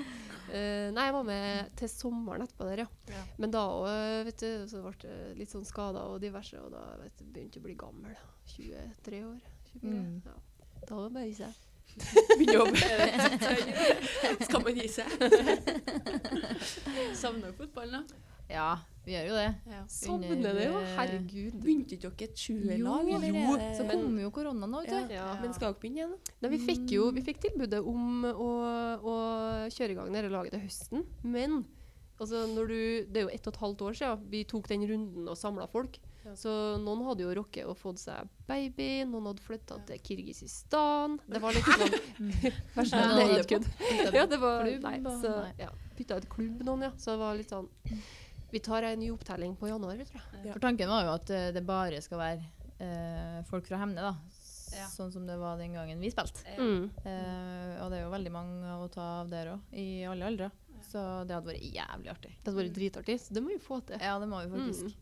B: Eh, nei, jeg var med til sommeren etterpå der, ja.
G: Ja.
B: Men da òg, vet du, så ble jeg litt sånn skada og diverse, og da vet du, begynte jeg å bli gammel. 23 år. 24.
F: Mm.
B: Ja. Da var det bare å gi seg.
E: Begynne å Skal man gi seg?
G: Savner du fotballen, da?
F: ja, vi gjør jo det.
G: Ja.
B: Savner det jo,
F: eh,
B: herregud.
E: Begynte ikke dere et sjuerlag?
F: Jo,
E: eller
B: jo,
E: er det-
F: Så kom jo koronaen òg,
E: ja.
F: vet du.
B: Ja.
E: Men skal dere begynne igjen?
B: Nei, vi fikk jo vi fikk tilbudet om å, å kjøre i gang dette laget til høsten, men altså, når du, det er jo ett og et halvt år siden vi tok den runden og samla folk.
E: Ja.
B: Så noen hadde jo rocket og fått seg baby, noen hadde flytta til Kirgisistan Det var litt sånn Vær så snill, det er ikke kødd. Ja, det var
F: Klubb,
B: Nei,
F: og-
B: så
F: nei.
B: ja, bytta ut klubb noen, ja. Så det var litt sånn Vi tar en ny opptelling på januar, tror jeg.
G: Ja.
F: For tanken var jo at eh, det bare skal være eh, folk fra Hemne, da. S-
G: Ja.
F: Sånn som det var den gangen vi spilte.
G: Ja.
B: Mm.
F: Eh, og det er jo veldig mange å ta av der òg, i alle aldre. Så det hadde vært jævlig artig.
B: Det hadde vært dritartig, så det må vi få til.
F: Ja, det må
B: Mm.
F: vi faktisk.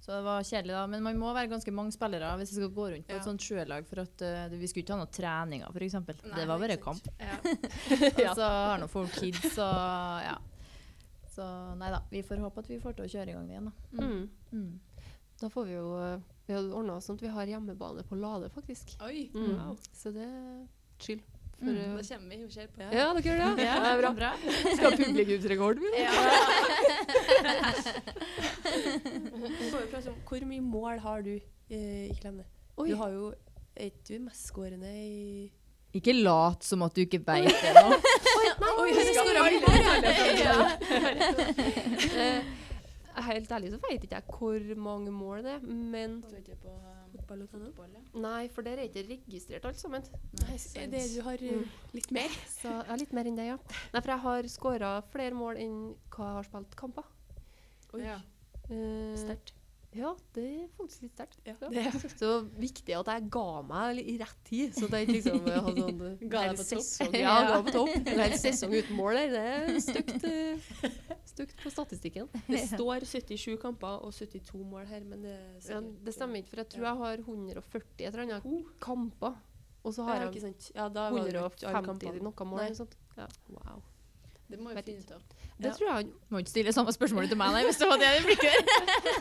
F: Så det var kjedelig, da. Men man må være ganske mange spillere hvis det skal gå rundt på
G: Ja.
F: et sånt sjuerlag. For at eh, vi skulle ikke ha noen treninger, f.eks.
G: Nei,
F: Det var bare
G: ikke sant.
F: kamp.
G: Ja.
F: Og så har nå folk kids, og ja. Så nei da. Vi får håpe at vi får til å kjøre i gang igjen, da.
B: Mm.
F: Mm.
B: Da får vi jo eh, Vi har ordna oss sånn at vi har hjemmebane på Lade, faktisk.
G: Oi!
B: Mm.
F: Wow.
B: Så det er chill. For, eh,
F: Mm.
G: Da kommer vi og ser på.
B: ja, dere gjør det? Ja, det er bra. Skal ha publikumsrekord, vi. da.
E: Vi får jo prate om Hvor mye mål har du eh, i Klemne?
B: Oi.
E: Du har jo Er ikke du mestskårende i
F: Ikke lat som at du ikke veit det nå.
E: Oi,
B: jeg
E: skal
B: skårer
E: alle.
B: Eh, Helt ærlig så vet ikke jeg hvor mange mål det er, men
G: Står ikke på um,
E: Fotball og tennis?
G: fotball, ja.
B: Nei, for der er ikke registrert alt sammen.
G: Nei,
E: Er
G: sant.
E: det du har eh, litt mer?
B: Så jeg har litt mer enn det, ja. Nei, for jeg har skåra flere mål enn hva jeg har spilt kamper.
G: Ja.
B: Eh,
E: Sterkt.
B: Ja, det er faktisk litt sterkt.
E: Ja.
B: Ja. Så viktig at jeg ga meg i rett tid, så at jeg ikke liksom eh, hadde sånn eh,
G: Ga deg
B: hel
G: på topp.
B: sesong- Ja, ga på topp. En hel sesong uten mål der, det er stygt, eh, stygt på statistikken.
E: Det står 77 kamper og 72 mål her, men det, er
B: Ja,
E: sikkert-
B: det stemmer ikke, for jeg tror jeg har 140 et eller annet kamper. Og så
E: Ja,
B: har
E: ikke
B: jeg
E: sant. Ja, da var det jo ikke alle
B: 150
E: kampene.
B: eller noe mål.
E: Nei.
B: eller sånt. Ja.
E: Wow.
G: Det må vi
B: Vet
G: finne ut
B: ikke.
G: av.
B: Det
E: Ja.
B: tror jeg han
F: Må ikke stille samme spørsmålet til meg, nei, hvis det var det du blikket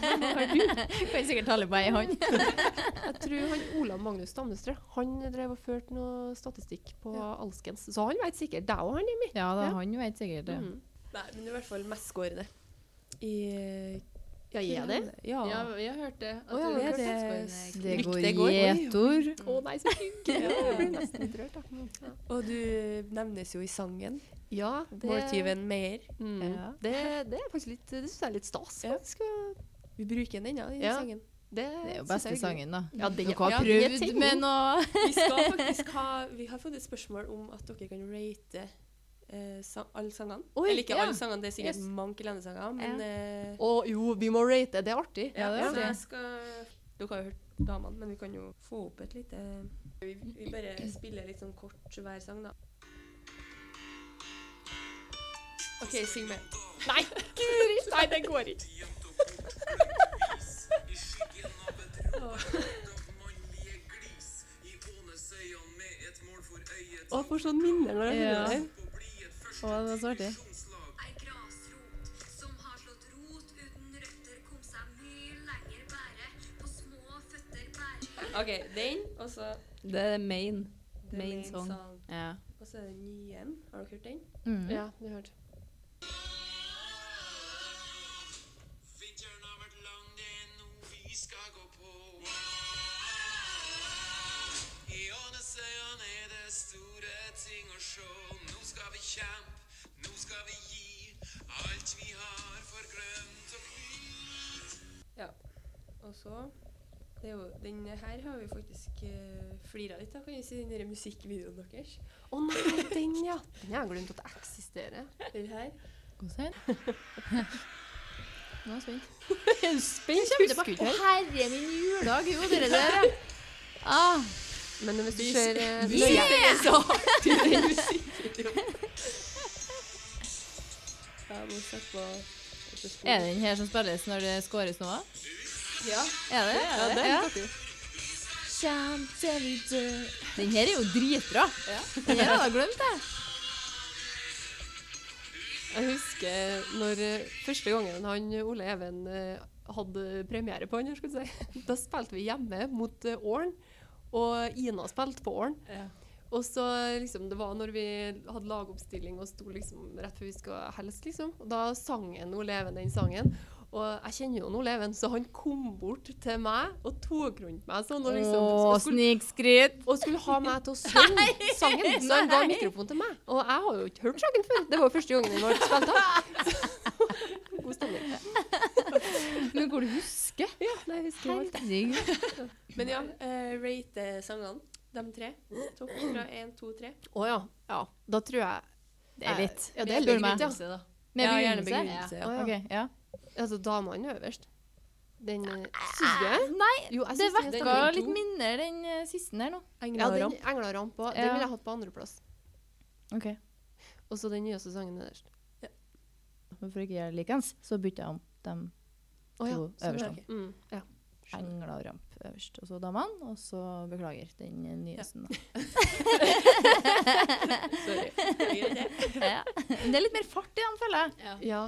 F: der. Kan sikkert tale på ei hånd.
B: Jeg tror han Olav Magnus Stamnestrø han drev og førte noe statistikk på alskens. Så han vet sikkert deg og han, Emil.
F: Ja da,
B: Ja.
F: han veit sikkert det.
B: Mm.
E: Nei, men du er i hvert fall mestskårende. I eh,
B: Ja, er det?
E: Ja.
G: Ja, vi har hørt det. At
B: Å, ja,
G: du
B: det
G: har
B: er
G: hørt
E: det-
G: sexboyene.
F: Det
B: Lykke
F: går
B: til går. Oi,
F: gjetord.
B: Å nei, så hyggelig. Jeg blir nesten litt rørt. da. Ja.
E: Og du nevnes jo i sangen.
B: Ja, det,
E: Måltyven Meyer.
B: Mm.
F: Ja.
B: Det, det er faktisk litt, det synes jeg er litt stas.
E: Ja.
B: faktisk, og
E: Vi bruker den ennå, den
B: Ja.
E: sangen.
B: Det,
F: Det er jo
B: synes jeg
F: beste
B: hyggelig.
F: sangen, da.
B: Ja, det,
F: Dere har
B: ja, det er
F: prøvd
B: ting.
F: med noe
E: Vi skal faktisk ha Vi har fått et spørsmål om at dere kan rate eh, sang, alle sangene.
B: Oi,
E: Eller ikke
B: ja.
E: alle sangene, det er sikkert
B: Yes.
E: mange landesanger, men eh,
B: Å jo, vi må rate. Det er artig.
F: Ja, det er
E: så
F: artig.
E: jeg skal, Dere har jo hørt damene, men vi kan jo få opp et lite Vi, vi bare spiller litt sånn kort hver sang, da. OK, syng med.
B: Nei, det går ikke.
H: I ånes øyan med et mål for øyet
B: Å, jeg får sånn minner når jeg
A: Ja.
B: hører det.
A: Å, det var så artig.
H: Ei grasrot som har slått rot uten røtter, kom seg mye lenger bære. På små føtter bære.
G: OK, den, og så
A: Det er main.
G: The
A: Main
G: Main
A: Song.
G: Song.
A: Ja.
E: Og så er det nye en. Har dere hørt den?
F: Mm.
B: Ja, du hørte.
I: Vinteren har vært lang, det er noe vi skal gå på. I Ånesøyene er det store ting å sjå. Nå skal vi kjempe, nå skal vi gi alt vi har for grønt og hvit.
E: Ja. Og så det er jo, Den her har vi faktisk
B: eh,
E: uh, flira litt av, kan vi si, den der musikkvideoen deres.
B: Å nei, den ja. Den har jeg glemt at eksisterer.
E: Den her.
F: Konsert. Nå er jeg spent.
B: Er du spent? Husker ikke
F: Å,
B: helt.
F: herre min juledag! Jo, dere der, ja. Ah,
B: Men hvis du ser eh,
F: vi
B: nøye
E: Ja, må sette på sette på-
F: Er det den her som spilles når det skåres nå?
E: Ja.
F: Er det?
B: Ja, det er
F: Ja.
B: litt artig.
F: Kjem til vi dør. Den her er jo dritbra.
E: Ja.
F: Den her hadde jeg glemt, jeg.
B: Jeg husker når eh, første gangen han eh, Ole Even eh, hadde premiere på han, her, skulle jeg si. Da spilte vi hjemme mot eh, Åren, og Ina spilte på Åren.
G: Ja.
B: Og så liksom, Det var når vi hadde lagoppstilling og sto liksom rett før vi skulle helst, liksom. Og da sang en Ole Even den sangen. Og jeg kjenner jo en Ole Even, så han kom bort til meg og tok rundt meg sånn. Og liksom,
F: Å,
B: og skulle
F: snikskryt.
B: og skulle ha meg til å synge sangen. Så han ga mikrofonen til meg. Og jeg har jo ikke hørt sangen før. Det var jo første gangen den ble spilt av. Så- God stemning.
F: Men hvor du husker?
B: Ja, nei, jeg husker jo alt.
F: Herregud.
E: Men ja, eh, rate sangene. De tre. Topp fra én, to, tre.
B: Å ja. ja. Da tror jeg
F: Det er litt.
B: Ja, det er
F: Spør
B: litt, altså.
F: meg.
B: ja.
F: Med
E: Ja, gjerne
F: begrunnelse?
E: begrunnelse, ja.
B: Å, ja.
F: Ok, ja.
B: Altså, damene er øverst. Den eh, Syns du det?
F: Nei,
B: Jo, jeg syns
F: det
B: den er
F: vekka
B: stemning.
F: litt mindre den eh, siste der nå.
B: Ja, den
E: Englaram.
B: Englaramp òg. Den
F: Ja.
B: ville jeg hatt på andreplass.
F: Ok.
B: Og så den nyeste sangen nederst.
F: Men for ikke å gjøre det likens, så bytter jeg om dem
B: Å ja.
F: to øverst.
E: ok.
F: Okay.
B: Mm, ja.
F: Engla og ramp øverst. Og så damene, og så beklager den eh, nyeste. da.
B: Sorry.
F: Ja. Men Det er litt mer fart i dem, føler jeg.
B: Ja.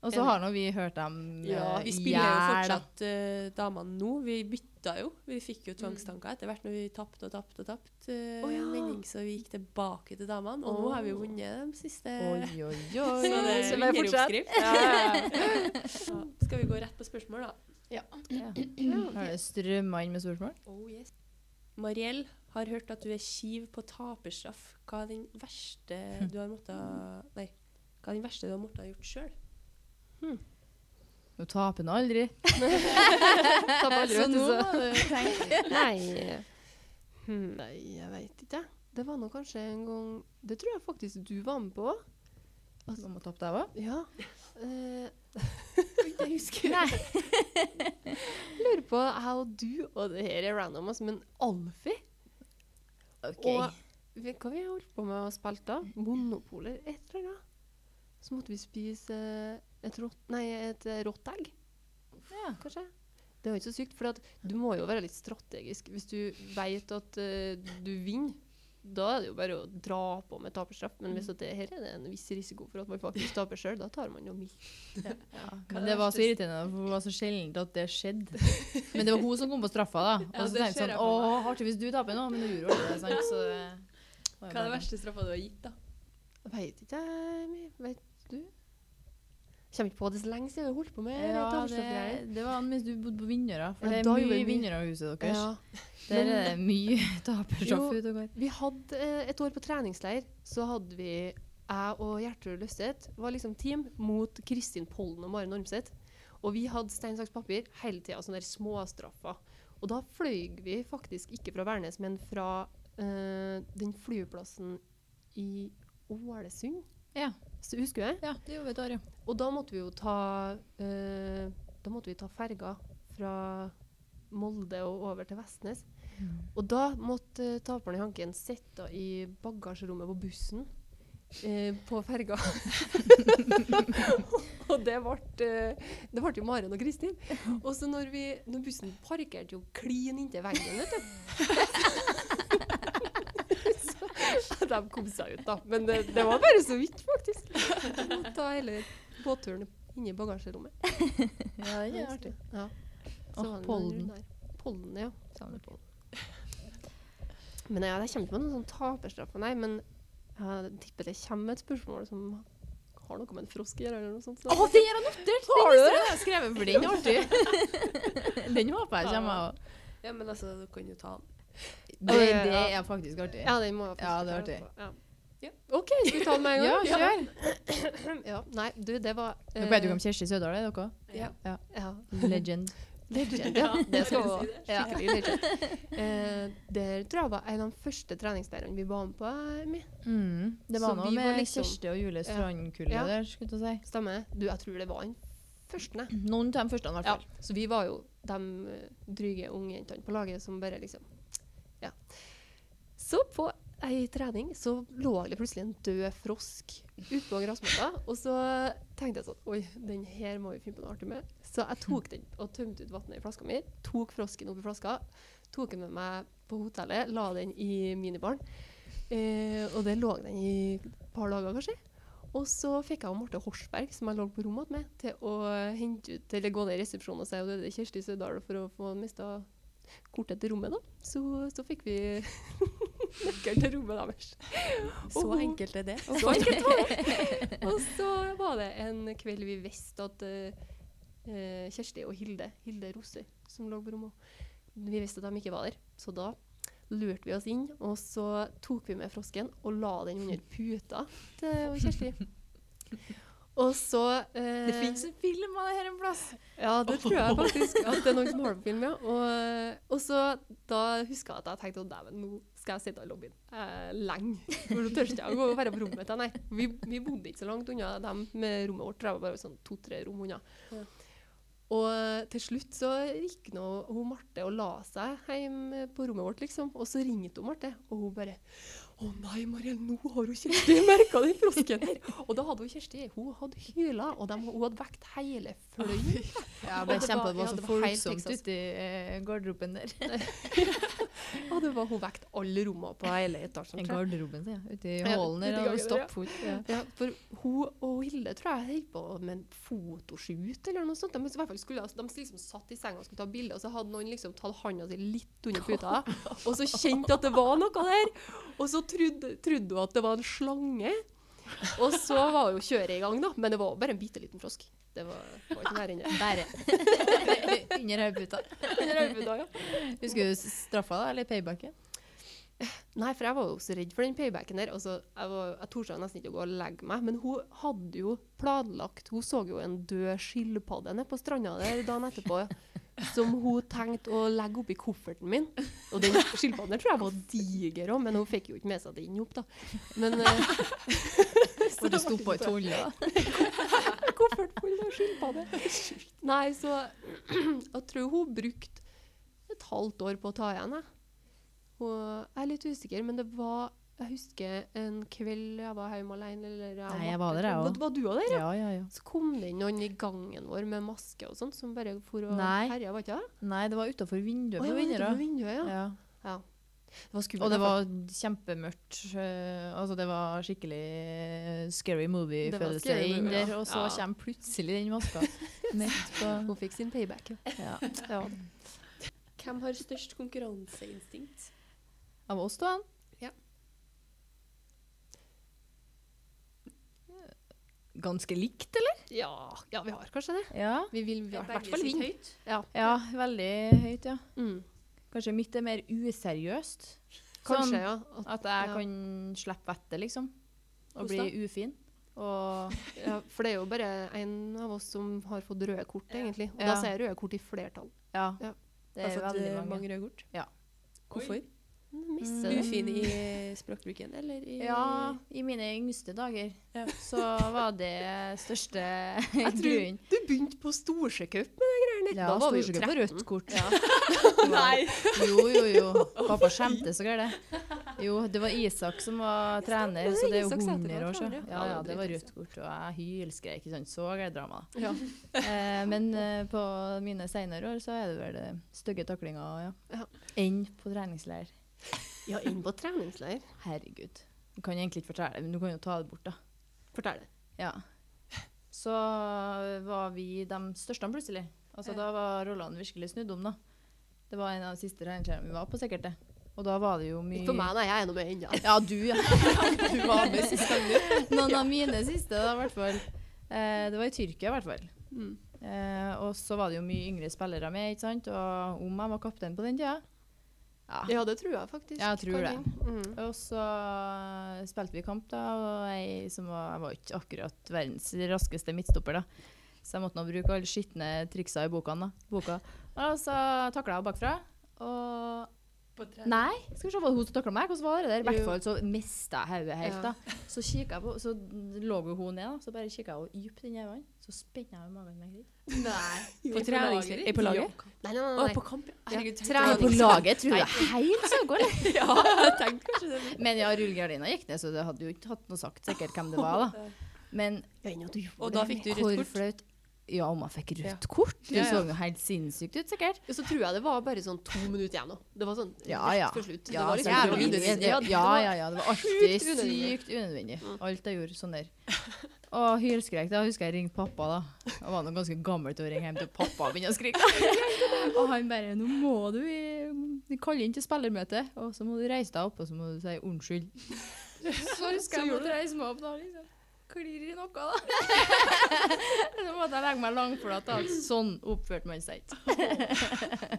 F: Og så har nå vi hørt dem
E: Ja,
F: eh,
E: vi spiller jo
F: jævla-
E: fortsatt eh, damene nå. Vi bytta jo. Vi fikk jo tvangstanker etter hvert når vi tapte og tapte og tapte eh,
B: Å ja.
E: mening, så vi gikk tilbake til damene. Og nå har vi jo vunnet de siste
F: Oi, oi,
E: Så
F: oi.
E: det
B: Så
E: er
B: bare fortsett.
E: vinneroppskrift. Ja. Skal vi gå rett på spørsmål, da?
F: Ja. Har det strømma inn med spørsmål?
E: Oh, yes. Mariell har hørt at du er kiv på taperstraff. Hva er den verste
F: Hm.
E: du har måttet Nei, hva er den verste du har måttet ha gjort sjøl?
F: Nå taper nå aldri.
B: Tapp aldri,
F: Så
B: vet du,
F: nå
B: så.
F: må du tenke.
B: Nei. Hmm. Nei, jeg veit ikke. jeg. Det var nå kanskje en gang Det tror jeg faktisk du var med på.
F: Nå må tappe deg òg.
B: Ja. Eh, det husker jeg. Lurer på jeg og du, og det her er random, altså, men Alfie Og vi- hva vi holdt på med og spilte da? Monopoler, et eller annet. Så måtte vi spise eh, et rått Nei, et eh, rått egg,
F: Ja.
B: kanskje. Det var ikke så sykt, for at du må jo være litt strategisk. Hvis du vet at eh, du vinner, da er det jo bare å dra på med taperstraff. Men hvis at det her er det en viss risiko for at man faktisk taper sjøl, da tar man jo mildt.
F: Men det var så irriterende, for det var så sjeldent at det skjedde. Men det var hun som kom på straffa, da. Og så
G: det
F: tenkte jeg
G: ser jeg
F: sånn
G: for
F: Å, artig hvis du taper nå, men du gjorde jo det, sant. Så det
G: Hva
F: var jo
G: er det
F: bare-
G: verste straffa du har gitt, da?
B: Veit ikke jeg. Vet du? Kommer ikke på det så lenge siden vi holdt på med
F: Ja,
B: taperstraffgreier.
F: det, det var mens du bodde på Vindøra. For
B: Ja,
F: det er
B: da gjorde
F: mye
B: vi-
F: Vindøra i huset deres.
B: Ja.
F: Der er det mye
B: Jo.
F: taperstraff ute og går.
B: Vi hadde eh, et år på treningsleir, så hadde vi jeg og Gjertrud Løseth var liksom team mot Kristin Pollen og Maren Ormseth. Og vi hadde stein, saks, papir hele tida, sånne der småstraffer. Og da fløy vi faktisk ikke fra Værnes, men fra eh, den flyplassen i Ålesund.
F: Ja.
B: Så husker jeg.
F: Ja, det gjorde vi et år, ja.
B: Og da måtte vi jo ta eh, Da måtte vi ta ferga fra Molde og over til Vestnes. Og da måtte eh, taperen i Hanken sitte i bagasjerommet på bussen eh, på ferga. og det ble, eh, det ble jo Maren og Kristin. Og så når, vi, når bussen parkerte jo klin inntil veggen, vet du. Så de kom seg ut, da. Men det, det var bare så vidt, faktisk. De måtte ta hele båtturen inn i bagasjerommet.
F: Ja, det er artig.
B: Ja. var
F: Åh,
B: det noen
F: pollen.
B: runder. Pollen, ja. Samlepollen. Men ja, jeg kommer ikke på noen sånn taperstraff, nei, men jeg tipper det kommer et spørsmål som har noe med en frosk å gjøre, eller noe sånt.
F: Å, den har jeg notert!
B: Har du
F: Den har jeg skrevet, for den er artig. Den håper jeg kommer. av.
E: Ja, men altså, du kan jo ta den.
F: Det, det er faktisk artig.
B: Ja, den må jeg
F: Ja, det var
B: forklare på. Ja. OK, skal vi ta den med en
F: Ja,
B: gang?
F: kjør.
B: Ja. Nei, du, det var eh,
F: Dere vet jo om Kjersti Sødal er, dere?
B: ja.
F: Legend.
B: Legend, ja. Det skal vi også. Skikkelig legend. Eh, det tror jeg var en av de første treningsleirene vi var med på. Emmy.
F: Mm. Det
B: Så
F: var noe
B: vi var
F: med
B: liksom-
F: Kjersti og Julie Strandkullet
B: Ja.
F: der, skulle jeg til å
B: Stemmer? Du, jeg tror det var den første.
F: si. Noen av de første, i hvert
B: Ja.
F: fall.
B: Så vi var jo de eh, dryge unge jentene på laget som bare liksom Ja. Så på ei trening så lå det plutselig en død frosk utpå gressmatta. Og så tenkte jeg sånn Oi, den her må vi finne på noe artig med. Så jeg tok den og tømte ut vannet i flaska mi. Tok frosken oppi flaska. Tok den med meg på hotellet. La den i minibaren. Eh, og der lå den i et par dager, kanskje. Og så fikk jeg og Marte Horsberg, som jeg lå på rommet med, til å hente ut, eller gå ned i resepsjonen og si at det er Kjersti Sødal for å få mista kortet til rommet. da. Så, så fikk vi nøkkelen til rommet deres.
E: Så
B: Og-
E: enkelt er det.
B: Og så, og så var det en kveld vi visste at eh, eh, Kjersti og Hilde, Hilde Rosøy, som lå på rommet, vi visste at de ikke var der. Så da lurte vi oss inn, og så tok vi med frosken og la den under puta til Kjersti. Og så eh,
F: Det fins en film av det her en plass.
B: ja, det tror jeg faktisk at det er noen som har det på film, ja. Og, og så da huska jeg at jeg tenkte å dæven, nå skal jeg sitte i lobbyen eh, lenge. For nå tør ikke jeg å gå og være på rommet til Nei, vi, vi bodde ikke så langt unna dem med rommet vårt. Det var bare sånn to-tre rom unna.
E: Ja.
B: Og eh, til slutt så gikk nå hun Marte og la seg hjemme på rommet vårt, liksom. Og så ringte hun Marte, og hun bare å nei, Mariell, nå har hun Kjersti merka den frosken her! Og da hadde hun Kjersti hun hadde hyla, og dem- hun hadde vekt hele fløyen.
F: Ja,
B: men jeg kjenner på det var så folksomt eh,
F: uti garderoben der.
B: Og det var hun vekt alle rommene på hele etasjen. tror jeg.
F: Garderoben, sier jeg. Uti
B: Ja,
F: hallen der.
B: uti
F: Og
B: gangen,
F: stoppfot. Ja.
B: Ja, for hun og Hilde tror jeg holdt på med en fotoshoot eller noe sånt. De, i hvert fall skulle, de liksom satt i senga og skulle ta bilde, og så hadde noen liksom tatt handa si litt under puta, og så kjente at det var noe der. Og så trodde, trodde hun at det var en slange. Og så var jo kjøret i gang, da. Men det var bare en bitte liten frosk. Det var, var ikke nærmere enn det.
F: Bare. Under hodeputa.
B: Under øyeputa, ja.
F: Husker du straffa, da? Eller paybacken?
B: Nei, for jeg var jo så redd for den paybacken der. Altså, jeg var, jeg torde nesten ikke å gå og legge meg. Men hun hadde jo planlagt Hun så jo en død skilpadde nede på stranda der dagen etterpå. Som hun tenkte å legge oppi kofferten min. Og den skilpadden der tror jeg var diger òg, men hun fikk jo ikke med seg den opp, da. Men eh, så
F: Hvor du
B: det
F: sto
B: ble
F: på i
B: ikke
F: tolla?
B: en koffert full av skilpadder. Nei, så jeg tror hun brukte et halvt år på å ta igjen, jeg. Og jeg er litt usikker, men det var Jeg husker en kveld jeg var hjemme alene eller jeg og
F: Nei, jeg
B: Marte
F: var der, jeg
B: kom-
F: også.
B: Var du òg der?
F: Ja, ja, ja.
B: Så kom det inn noen i gangen vår med maske og sånn, som bare for å
F: Nei.
B: herje, var ikke det?
F: Nei, det var utafor
B: Å,
F: vinduet. på
B: ja,
F: vinduet,
B: utenfor
F: da.
B: vinduet, ja.
F: Ja.
B: Det var skummelt.
F: Og det
B: da, for-
F: var kjempemørkt. eh, Altså, det var skikkelig eh, scary
B: Det var
F: movie-følelse
B: scary
F: inn
B: movie, ja.
F: der. Og så
B: Ja.
F: kommer plutselig den maska midt på
B: Hun fikk sin payback.
F: ja.
B: Ja.
E: Hvem har størst konkurranseinstinkt?
F: Av oss to, han.
E: Ja.
F: Ganske likt, eller?
B: Ja, ja, vi har kanskje det.
F: Ja.
B: Vi vil i hvert fall vinne.
G: høyt.
F: ja. Veldig høyt, ja.
B: Mm.
F: Kanskje mitt er mer useriøst.
B: Kanskje,
F: Sånn
B: ja. At,
F: At jeg
B: ja.
F: kan slippe vettet, liksom. Og
E: Hvordan
F: bli ufin. Og
B: ja. For det er jo bare en av oss som har fått røde kort, egentlig. Og da
F: Ja.
B: sier jeg røde kort i flertall.
F: ja.
B: Ja.
F: Det er
E: altså, at
F: veldig
E: det er
F: eh, mange.
E: mange røde kort?
F: Ja.
E: Hvorfor?
F: Mm.
B: Misser det.
E: Ufin i eh, språkbruken, eller i
F: Ja, i mine yngste dager
E: Ja.
F: så var det største
B: tror-
F: grunnen.
B: Du begynte på Storsjøcup med de greiene.
F: Ja,
B: da var vi jo
F: Storsjøcup var
B: 13.
F: rødt kort. Nei! Jo, jo, jo. Pappa skjemte så gærent. Jo, det var Isak som var trener, så det er jo
B: Isak Sæter
F: 100
B: var
F: år siden.
B: trener, ja.
F: Ja,
B: Ja,
F: ja,
B: det
F: det var
B: driter
F: rødt kort, og jeg hylskrek. ikke sant? Så gærent drama.
B: Ja.
F: Eh, men eh, på mine senere år så er det vel eh, stygge taklinger, ja.
B: Ja.
F: Enn på treningsleir.
B: Ja, inn på treningsleir.
F: Herregud. Du kan egentlig ikke fortelle det, men du kan jo ta det bort, da.
B: Fortell det.
F: Ja. Så var vi de største plutselig. Altså, da var rollene virkelig snudd om, da. Det var en av de siste reinskjærene vi var på, sikkert det. Og da var det jo mye
B: Ikke for meg, nei. Jeg er nå med ennå.
F: Ja, du, ja. du var med sist gang, du. Noen av mine siste, da, i hvert fall. Eh, det var i Tyrkia, i hvert fall.
B: Mm.
F: Eh, og så var det jo mye yngre spillere med, ikke sant. Og om jeg var kaptein på den tida. Ja.
B: Ja, det tror jeg faktisk.
F: Jeg tror
B: kan
F: det.
B: hende. Mm.
F: Og så eh, spilte vi kamp, da, og jeg som var, jeg var ikke akkurat verdens raskeste midtstopper, da. Så jeg måtte nå bruke alle skitne triksa i boka. Da. boka. Og så takla jeg bakfra. Og
G: På tre-
F: Nei, skal vi se, var det hun som takla meg? Hvordan var det der? I hvert
B: Jo.
F: fall så mista jeg hodet helt,
B: Ja.
F: da. Så kikket jeg på, så lå jo hun ned, da. Så bare kikka jeg henne dypt inn i øynene. Så spenna jeg jo magen med kritt.
G: Nei.
E: På treningsleir?
G: Er på laget?
B: Nei, nei, nei. nei.
E: på kamp, ja. Herregud, tenkte
B: Trening.
E: jeg-
F: På laget tror jeg helt søk, eller?
E: Ja, tenk kanskje det.
F: Men ja, rullegardina gikk ned, så det hadde jo ikke hatt noe sagt sikkert hvem det var, da. Men
B: Ja, nå, du gjorde
E: Og da
B: det.
E: fikk du rødt
F: Hvor
E: kort.
F: flaut. Ja, om jeg fikk
E: Ja.
F: rødt kort? Du
E: Ja, ja.
F: så jo helt sinnssykt ut, sikkert.
B: Ja, Så tror jeg det var bare sånn to minutter igjen nå. Det var sånn
F: Ja,
B: rett
F: ja.
B: før slutt.
F: Ja,
B: det var liksom litt jævlig unødvendig.
F: selvfølgelig. ja,
B: Ja, det
F: ja,
B: var-
F: ja, Det var alltid
B: sjukt unødvendig.
F: sykt unødvendig. Alt jeg gjorde sånn der. Og hylskrek. Da husker jeg ringte pappa, da. Jeg var nå ganske gammel til å ringe hjem til pappa og begynne å skrike. Og han bare 'Nå må du i- kalle inn til spillermøte, og så må du reise deg opp, og så må du si unnskyld'. Så husker jeg jeg måtte reise meg opp da, liksom. Klir i noe, da. Så måtte jeg legge meg langflat. da. Sånn oppførte man seg ikke.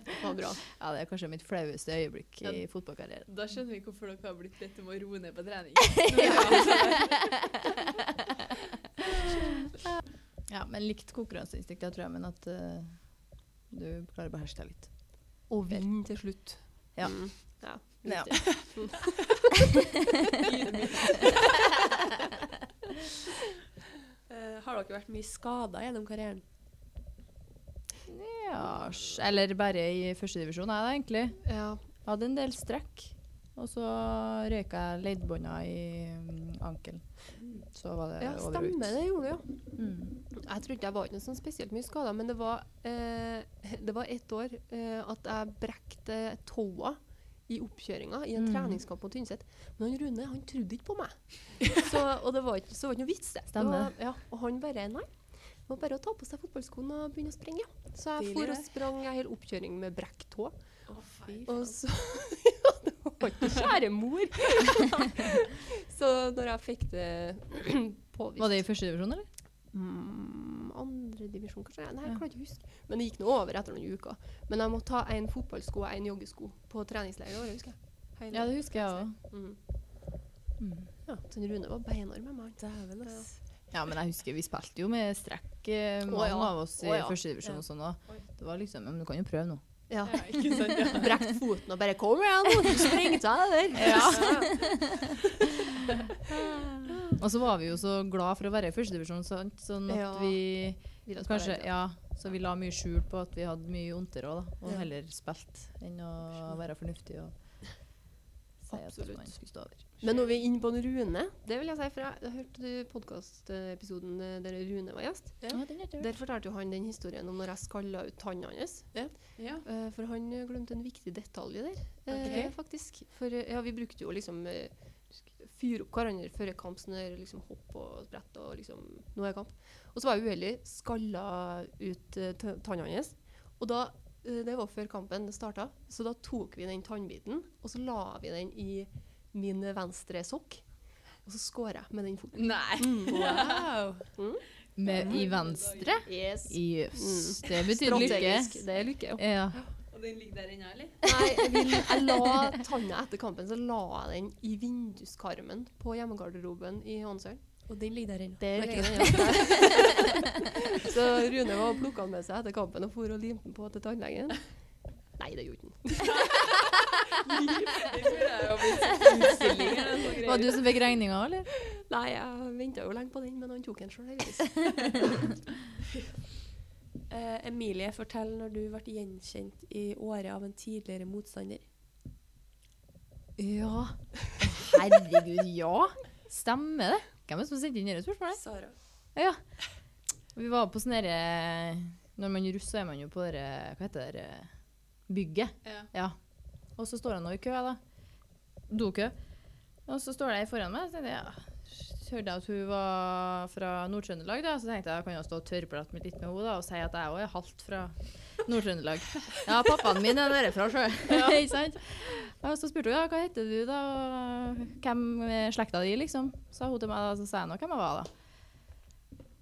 B: Det var bra.
F: Ja, det er kanskje mitt flaueste øyeblikk i fotballkarrieren.
G: Da skjønner vi hvorfor dere har blitt bedt om å roe ned på trening. Når dere har
F: Ja, men likt konkurranseinstinkt, jeg tror jeg, men at eh, du klarer å beherske deg litt.
B: Og vinn til slutt.
F: Ja.
B: Mm. ja.
F: Ja.
E: Eh, har dere vært mye skada gjennom karrieren?
F: sj- eller bare i førstedivisjon er det egentlig.
B: ja.
F: Hadde en del strekk, og så røyka jeg leddbånda i mm, ankelen. Så var det
B: ja,
F: over og ut.
B: stemmer det gjorde du, ja.
F: Mm.
B: Jeg trodde jeg var ikke noe sånn spesielt mye skada, men det var, eh, det var ett år eh, at jeg brekte tåa i oppkjøringa i en
F: Mm.
B: treningskamp på Tynset. Men han Rune han trodde ikke på meg. Så, og det var ikke, så var det ikke noe vits, det. det
F: Stemmer.
B: var, ja, og han bare Nei. Det var bare å ta på seg fotballskoene og begynne å sprenge. Så jeg
E: Stilig,
B: for og
E: det.
B: sprang ei hel oppkjøring med brekt tå.
E: fy
B: og så Ja, det var ikke kjære mor! så når jeg fikk det påvist
F: Var det i førstedivisjon, eller?
B: mm, andre divisjon, kanskje? Nei,
F: Ja.
B: jeg klarer ikke å huske. Men det gikk nå over etter noen uker. Men jeg måtte ta en fotballsko og en joggesko på treningsleiret i år, husker jeg. Hele-
F: Ja, det husker jeg òg.
B: Mm.
F: Mm.
B: Ja, så Rune var beinhard med meg. Dæven,
F: Ja, men jeg husker vi spilte jo med strekk, eh,
B: Å,
F: mange
B: ja.
F: av oss i
B: Å, ja.
F: førstedivisjon og sånn òg. Det var liksom Men du kan jo prøve nå.
B: Ja.
G: ja, ikke sant? Ja.
B: Brekt foten og bare 'Kom igjen, nå!' Sprengte jeg der.
F: Og så var vi jo så glad for å være i førstedivisjon, sant? sånn at
B: Ja.
F: vi
B: Vil at
F: Kanskje,
B: bare-
F: ja. Så vi la mye skjul på at vi hadde mye vondtere òg, da. Og
B: Ja.
F: heller spilt enn å være fornuftig og si at
B: Absolutt.
F: man skulle stå over.
B: Men når vi er inne på en Rune, det vil jeg si, for jeg, jeg hørte du podkastepisoden eh, der Rune var gjest.
E: Ja.
F: Ja, den er kul.
B: Der fortalte jo han den historien om når jeg skalla ut tannen hans.
G: Ja.
B: Eh, For han eh, glemte en viktig detalj der, eh,
E: Ok.
B: faktisk. For eh, ja, vi brukte jo liksom eh, fyre opp hverandre før kamp, sånn der liksom hopp og sprett og liksom Nå er kamp. Og så var jeg uheldig, skalla ut eh, t- tannen hans. Og da eh, Det var før kampen starta, så da tok vi den tannbiten, og så la vi den i min venstre sokk. Og så skåra jeg med den foten.
G: Nei.
E: Wow!
F: Med, I venstre?
B: Yes.
F: Jøss.
B: Mm.
F: Det betyr lykke.
B: Strategisk. Det er lykke. ja.
F: Ja.
G: Og den ligger der ennå, eller?
B: Nei, jeg, vil, jeg la tanna etter kampen, så la jeg den i vinduskarmen på hjemmegarderoben i Ånsølen.
E: Og den ligger der ennå.
B: Der
E: Nei,
B: ligger den, ja. Så Rune var og plukka den med seg etter kampen og for og limte den på til tannlegen. Nei, det gjorde han.
G: Den burde jeg jo blitt utstilling eller noe greier.
F: Var det du som fikk regninga, eller?
B: Nei, jeg venta jo lenge på den, men han tok den sjøl, heldigvis.
E: Eh, Emilie, fortell når du ble gjenkjent i året av en tidligere motstander.
F: Ja. Herregud, ja. Stemmer det? Hvem er det som sendte inn dette spørsmålet?
E: Sara.
F: Ja. Vi var på sånn derre Når man er russ, så er man jo på det Hva heter det derre Bygget.
G: Ja.
F: Og så står han nå i kø, da. Dokø. Og Og så står det ei foran meg, og så tenkte jeg, ja, hørte jeg at hun var fra Nord-Trøndelag, da, så tenkte jeg, kan jeg jo stå og tørrprate med- litt med henne da, og si at jeg også er halvt fra Nord-Trøndelag. Ja, pappaen min er derfra sjøl, ikke sant? Og så spurte hun, ja, hva heter du da, og hvem er slekta di, liksom? Sa hun til meg da, så sa jeg nå hvem jeg var da.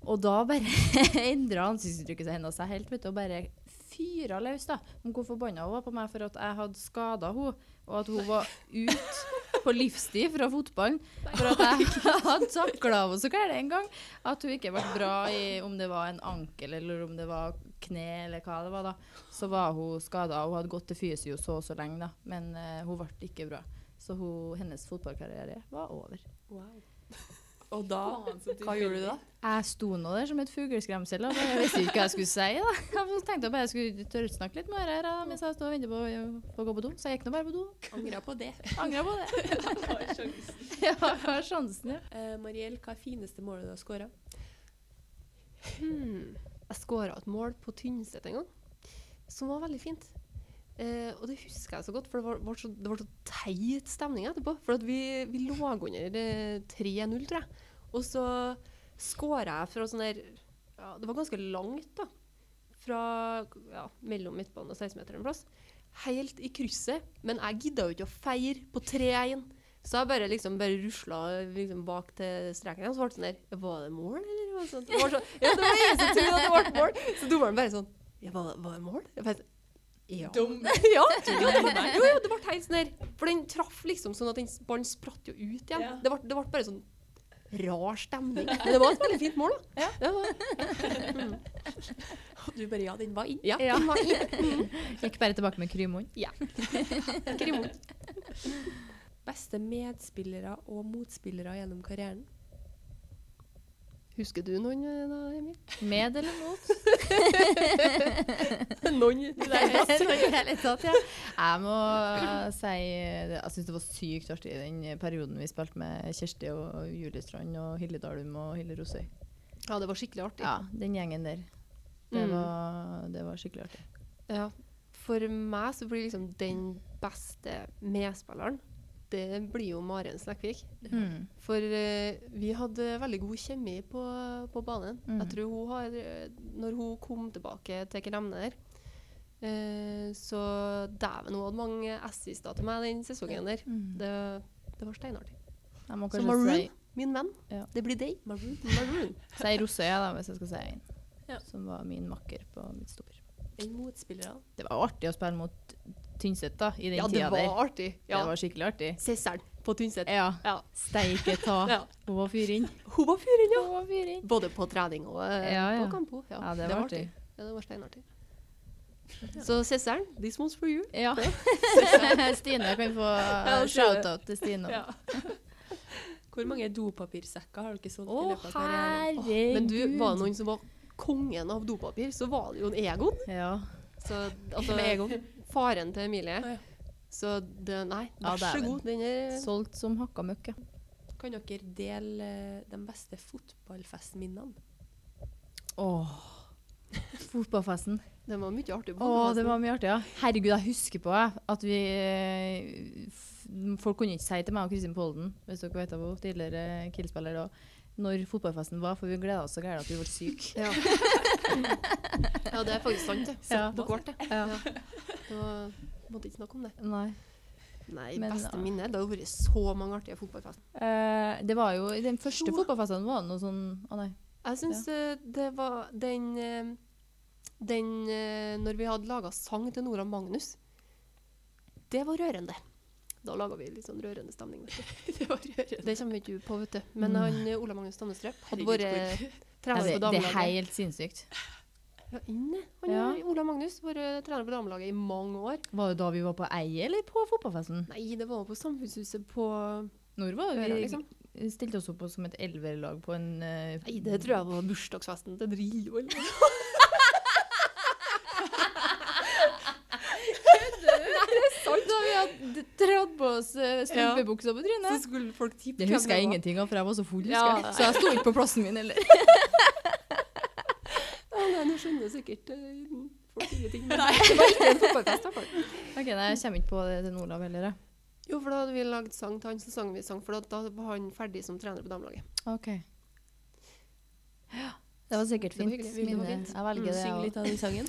F: Og da bare endra ansiktsuttrykket seg hennes seg helt, vet du, og bare fyra løs, da. Om hvor forbanna hun var på meg for at jeg hadde skada henne, og at hun var ute på livstid fra fotballen for at jeg hadde takla henne så gærent en gang. At hun ikke ble bra i om det var en ankel eller om det var kne eller hva det var. da. Så var hun skada. Hun hadde gått til fysio så og så lenge, da. men eh, hun ble ikke bra. Så hun, hennes fotballkarriere var over.
E: Og da Hva gjorde du da?
F: Jeg sto nå der som et fugleskremsel og jeg visste ikke hva jeg skulle si. da. Jeg tenkte jeg bare skulle tørrsnakke litt med dere her, da, mens jeg sto og ventet på, på å gå på do. Så jeg gikk nå bare på do.
E: Angra på det.
F: Angra på det. Ja, hva er sjansen, ja?
E: Eh, Mariell, hva er fineste målet du har skåra?
B: Hmm. Jeg skåra et mål på Tynset en gang, som var veldig fint. Eh, og det husker jeg så godt, for det var, var så, det var så teit stemning etterpå. For at vi, vi lå under eh, 3-0, tror jeg. Og så skåra jeg fra sånn der ja, Det var ganske langt, da. Fra ja, mellom midtbanen og 16-meteren en plass. Helt i krysset. Men jeg gidda jo ikke å feire på 3-1. Så jeg bare liksom bare rusla liksom bak til streken, og så ble det sånn der Var det mål, eller? Var det sånn? Det var sånn ja, det var jeg som trodde at det ble mål. Så dommeren bare sånn Ja, var, var det mål? Jeg bare, sånn, ja. ja, ja, det ble, jo, ja, det ble helt sånn der. For den traff liksom sånn at den ballen spratt jo ut igjen.
G: Ja.
B: Det, ble, det ble bare sånn rar stemning. Men det var et veldig fint mål, da. Det var,
E: Du bare ja, den var inn.
B: ja, den var fin.
F: Gikk bare tilbake med krymånd.
B: Krimon.
E: Beste medspillere og motspillere gjennom karrieren?
B: Husker du noen eh, da, Emil?
F: Med eller mot?
B: Noen?
F: ja. Jeg må si det- Jeg syns det var sykt artig i den perioden vi spilte med Kjersti og Julestrand og Hille Dalum og Hille Rosøy.
B: Ja, det var skikkelig artig.
F: Ja, den gjengen der. Det
B: Mm.
F: var, det var skikkelig artig.
B: Ja. For meg så blir liksom den beste medspilleren, det blir jo Maren Snekvik.
F: Mm.
B: For eh, vi hadde veldig god kjemi på, på banen.
F: Mm.
B: Jeg tror hun har eh, Når hun kom tilbake til Kremne der, eh, så dæven, hun hadde mange assister til meg den sesongen der.
F: Mm.
B: Det, det var steinartig.
F: Jeg må
B: Så
F: kanskje
B: Maroon,
F: si,
B: min venn,
F: Ja.
B: det blir deg.
E: Maroon.
B: Maroon.
F: si Rosøya, da, hvis jeg skal si en.
E: Ja.
F: Som var min makker på midtstopper.
E: Den motspilleren.
F: Det var artig å spille mot Tynset da, i den
B: Ja, det
F: tida der.
B: var artig. Ja.
F: Det var skikkelig artig.
B: Sisselen på Tynset.
F: Ja.
B: Ja.
F: Steike ta.
B: Ja.
F: Hun var fyren.
B: Hun var fyren, ja!
F: Hun var fyren.
B: Både på trening og eh,
F: Ja, ja.
B: på kamp. også.
F: Ja, det var artig.
B: Ja, det var steinartig. Så Sisselen, this one's for you.
F: Ja. Stine kan få uh,
B: Ja, Stine.
F: shout-out til Stine.
B: Ja.
E: Hvor mange dopapirsekker har sånn? dere solgt
F: Å,
E: i løpet av karrieren?
F: herregud!
B: Men du, var det noen som var kongen av dopapir, så var det jo en Egon.
F: Ja.
B: Så, altså, Faren til
E: Ja,
B: Emilie.
E: ja.
B: Så det, nei,
F: Ja,
B: vær så
F: dæven.
B: god. Den er
F: Solgt som hakka møkk, ja.
E: Kan dere dele eh, de beste fotballfestminnene?
F: Åh. Fotballfesten.
B: Det var mye artig. på
F: Å, det
B: podcasten.
F: var mye artig, ja. Herregud, jeg husker på jeg, at vi eh, f- Folk kunne ikke si til meg og Kristin Polden, hvis dere vet av henne, tidligere Kiel-spiller, da, når fotballfesten var, for vi gleda oss så gærent at vi ble syke.
B: Ja. ja, det er faktisk sant, det.
F: Ja.
B: Dere ble det.
F: Ja.
B: Det var- Måtte ikke snakke om det.
F: Nei.
B: Nei,
F: Men,
B: beste
F: ja.
B: minne. Det har jo vært så mange artige fotballfester.
F: Eh, det var jo, I den første fotballfesten var det noe sånn Å nei.
B: Jeg syns eh, det var den eh, Den eh, Når vi hadde laga sang til Nora Magnus, det var rørende. Da laga vi litt sånn rørende stemning. Vet du. Det kommer vi ikke på, vet du.
F: Mm.
B: Men han, eh, Ola Magnus Stamnestrøm hadde vært eh,
F: Nei,
B: trener
F: Altså, det,
B: på
F: det er
B: damelaget.
F: helt sinnssykt.
B: Ja, inne. Han,
F: Ja.
B: eh, Ola Magnus var eh, trener på damelaget i mange år.
F: Var det da vi var på Eie, eller på fotballfesten?
B: Nei, det var på Samfunnshuset på
F: Når var det
B: Øra,
F: vi
B: liksom.
F: stilte oss opp som et elverlag på en eh,
B: Nei, det tror jeg var bursdagsfesten til Drillo. eller noe.
F: Alt da vi hadde dratt på oss eh, strømpebuksa på
B: Så
F: trynet.
B: skulle folk tippe
F: Det
B: hvem
F: husker jeg
B: var.
F: ingenting av, for jeg var så full, husker
B: Ja.
F: jeg. Så jeg sto ikke på plassen min heller.
B: Ja, nei, nå skjønner jeg sikkert eh, folk ingenting. Men det var ikke en fotballfest, i hvert fall.
F: Ok, nei, Jeg kommer ikke på det til Olav heller. jeg.
B: Jo, for da hadde vi lagd sang til han sesongen vi sang, for da- da var han ferdig som trener på damelaget.
F: Ok. Det var sikkert
B: Det var
F: fint.
B: hyggelig. Det var
F: minne.
B: fint.
F: Jeg velger det.
E: Mm, Syng
F: ja.
E: litt av den sangen.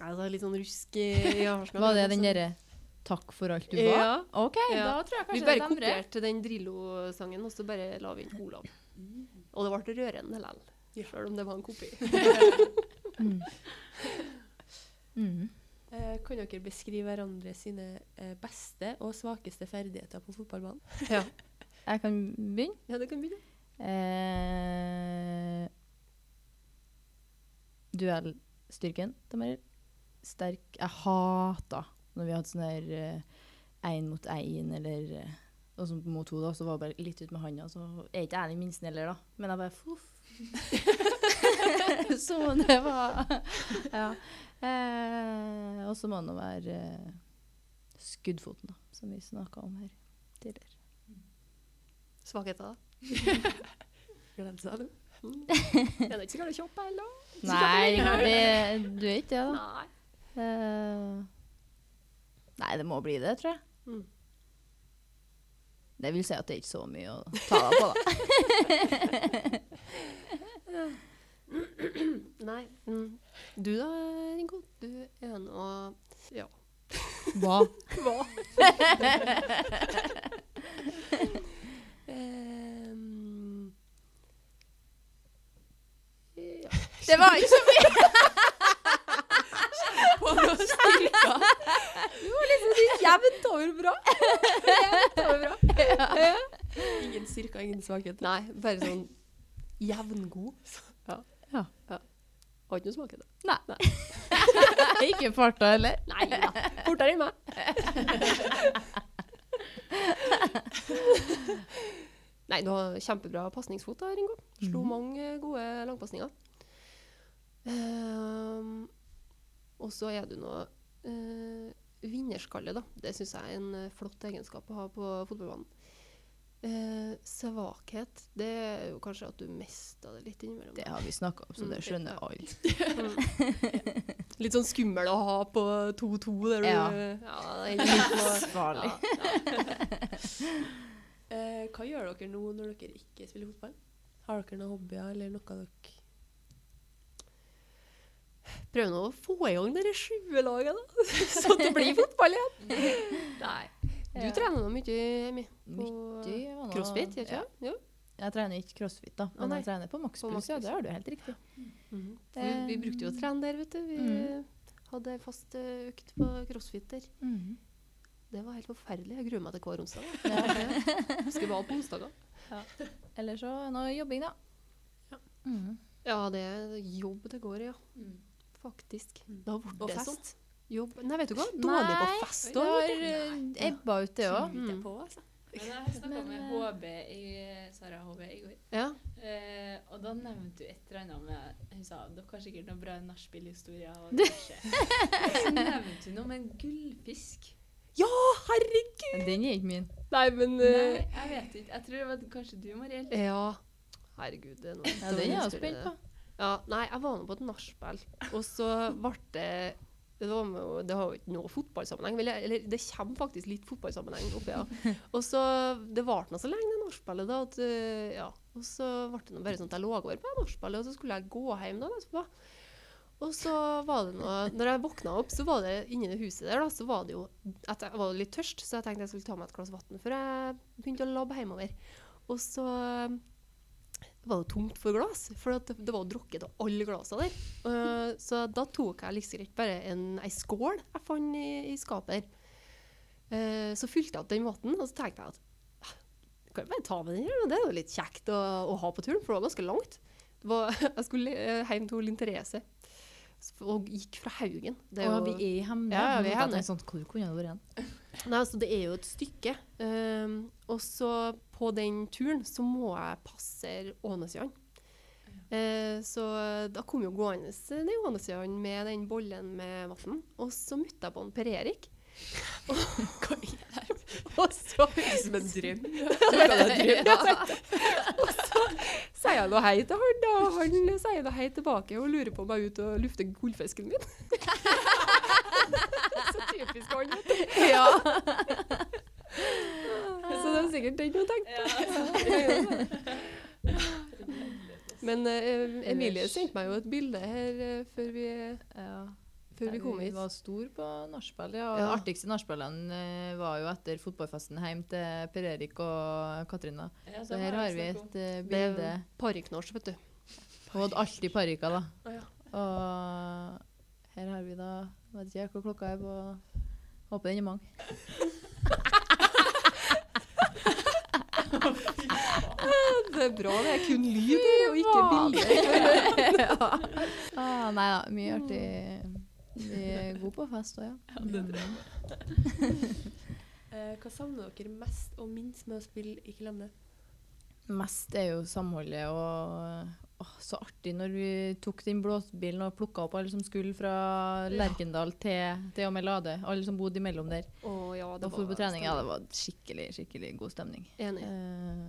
B: Nei, det er litt sånn rusk i i Arsenal.
F: Var det den derre 'takk for alt du var'?
B: Ja.
F: OK,
B: Ja.
F: da tror jeg
B: Vi
F: kanskje det
B: bare
F: demrer.
B: kopierte den Drillo-sangen, og så bare la vi inn Olav. Og det ble rørende likevel, selv om det var en kopi.
F: Mm. Mm.
E: Eh, kan dere beskrive hverandre sine eh, beste og svakeste ferdigheter på fotballbanen?
F: Jeg kan begynne.
B: Ja, det kan begynne.
F: Eh, duellstyrken til Meryl. Sterk Jeg hata når vi hadde sånn her én mot én eller eh, og så mot to, da, så var det bare litt ut med handa. Så er ikke jeg den minste heller, da. Men jeg bare fuff. så det var Ja. Eh, og så må det nå være eh, skuddfoten, da, som vi snakka om her tidligere.
B: Svakheter, da.
E: Gleder seg nå.
B: Er det ikke så galt å kjappe heller?
F: Nei, det, du er ikke det, da.
B: Nei.
F: Eh, nei, det må bli det, tror jeg.
B: Mm.
F: Det vil si at det er ikke så mye å ta deg på, da.
B: Nei. Mm. Du da, Ringo? Du er nå Ja.
F: Hva?
E: Ehm,
F: Det var ikke så mye! Du var liksom sånn jevnt over bra. Jevnt over bra.
E: ingen styrker, ingen svakheter.
B: Nei, bare sånn jevngod. Ja.
F: Ja.
B: Har ikke noe svakheter.
F: Ikke farta heller.
B: Nei da. Fortere enn meg. Nei, du har kjempebra pasningsfot da, Ringo. Slo mange gode langpasninger. Ehm, og så er du nå eh, vinnerskalle, da. Det syns jeg er en eh, flott egenskap å ha på fotballbanen. Eh, svakhet, det er jo kanskje at du mista det litt innimellom.
F: Det har vi snakka om, så
B: Mm.
F: det skjønner alle.
B: Litt sånn skummel å ha på 2-2 der du
F: Ja.
B: ja det er litt sånn- på,
F: Farlig.
E: Eh, hva gjør dere nå når dere ikke spiller fotball? Har dere noen hobbyer eller noe dere
B: Prøv nå å få i gang det sjuelaget, da. Så det blir fotball igjen. Nei. Du
F: Ja.
B: trener nå mye, Emmy.
F: Mye, var nå-
B: Crossfit, gjør du ikke
F: Ja.
B: det? Ja.
F: Jeg trener ikke crossfit, da, men
B: nei.
F: jeg trener på
B: På
F: makspuls. Ja,
B: makspuls.
F: det har du helt riktig.
B: Vi, Mhm. vi brukte jo å trene der, vet du. Vi
F: Mm.
B: hadde ei fast eh, økt på crossfit der.
F: Mhm.
B: Det var helt forferdelig. Jeg gruer meg til hver onsdag. da.
F: Ja.
B: Husker bare på onsdager.
F: Eller så er det noe jobbing, da. Mhm.
B: Ja, det er jobb det går i, ja. Mm. Faktisk. Da ble det sånn. Jobb Nei, vet du hva? Dårlig på
F: Nei,
B: fest
F: Det
B: òg.
F: har eh, ebba ut, det òg.
B: Mm.
E: på? Altså?
G: Men jeg snakka
F: Men,
G: med
F: eh,
G: HB i, Sara HB i går,
B: Ja.
G: eh, og da nevnte hun et eller annet med Hun sa dere har sikkert noen bra nachspiel-historier. og diverse." Så nevnte hun noe med en gullfisk.
F: Den er ikke min.
B: Nei, men
E: Eh.
B: eh,
G: Nei, jeg vet ikke. Jeg tror det var kanskje du, Mariell.
B: Ja. Herregud, det er noe.
F: Ja, den er jeg spent på.
B: Ja, nei, jeg var med på et nachspiel, og så ble det det, var med, og det har jo ikke noe fotballsammenheng, vil jeg- eller det kommer faktisk litt fotballsammenheng oppi ja. Og så, Det varte nå så lenge, det nachspielet, da. At, øh, ja. Og så ble det nå bare sånn at jeg lå over på det nachspielet, og så skulle jeg gå hjem da, etterpå. Og så var det noe, når jeg våkna opp, så var det inni det huset der, da, så var det jo at jeg var litt tørst, så jeg tenkte jeg skulle ta meg et glass vann før jeg begynte å labbe hjemover. Og så um, var det tomt for glass, for at det var drukket av alle glassene der. Eh, så da tok jeg liksom ikke bare en, ei skål jeg fant i, i skapet her. Eh, så fylte jeg opp den vann, og så tenkte jeg at «Ah, kan jeg bare ta med den her, det er jo litt kjekt å, å ha på turen, for det var ganske langt. Det var, jeg skulle eh, hjem til Linn Therese s- og gikk fra Haugen. Det er
F: Å,
B: jo-
F: vi er i Hemne.
B: Ja, ja, vi er i
F: Nå tenkte jeg
B: Hemne.
F: Sånn, hvor kunne det vært hen?
B: Nei, altså det er jo et stykke. Ehm, og så på den turen så må jeg passere Ånesøyan. Eh, så da kom jo gående ned Ånesøyan med den bollen med vann. Og så møtte jeg på en Per Erik. Og, og så Høres ut som en drøm. Og så sier jeg noe hei til han, da. og Han sier noe hei tilbake og lurer på om jeg er ute og lufter gullfisken min. Så Typisk han.
J: Ja.
B: Så det er sikkert den hun tenkte. Men eh, Emilie
J: Ellers-
B: sendte meg jo et bilde her eh, før vi,
F: Ja.
B: før vi kom
F: Vi
B: hit.
F: var stor på nachspiel, ja. Og
B: Ja.
F: de artigste nachspielene eh, var jo etter fotballfesten hjem til Per Erik og Katrina.
A: Ja,
F: Så her har vi et eh,
B: Med
F: bilde.
B: parykknorsk, vet du.
F: Hun hadde alltid parykker,
A: Å,
F: da. Og her har vi da Vet ikke jeg hva klokka er på Håper den er mange.
B: Det er bra det er kun lyd her, og ikke bilde.
F: Ah, nei da, mye artig. Vi er gode på fest òg, ja.
E: Eh, hva savner dere mest og minst med å spille Ikke glem det?
F: Mest er jo samholdet og åh, så artig når vi tok den blåsebilen og plukka opp alle som skulle fra Lerkendal til, til og med Lade. Alle som bodde imellom der.
B: Å ja,
F: Da for på trening, ja, det var skikkelig, skikkelig god stemning.
B: Enig.
F: Eh,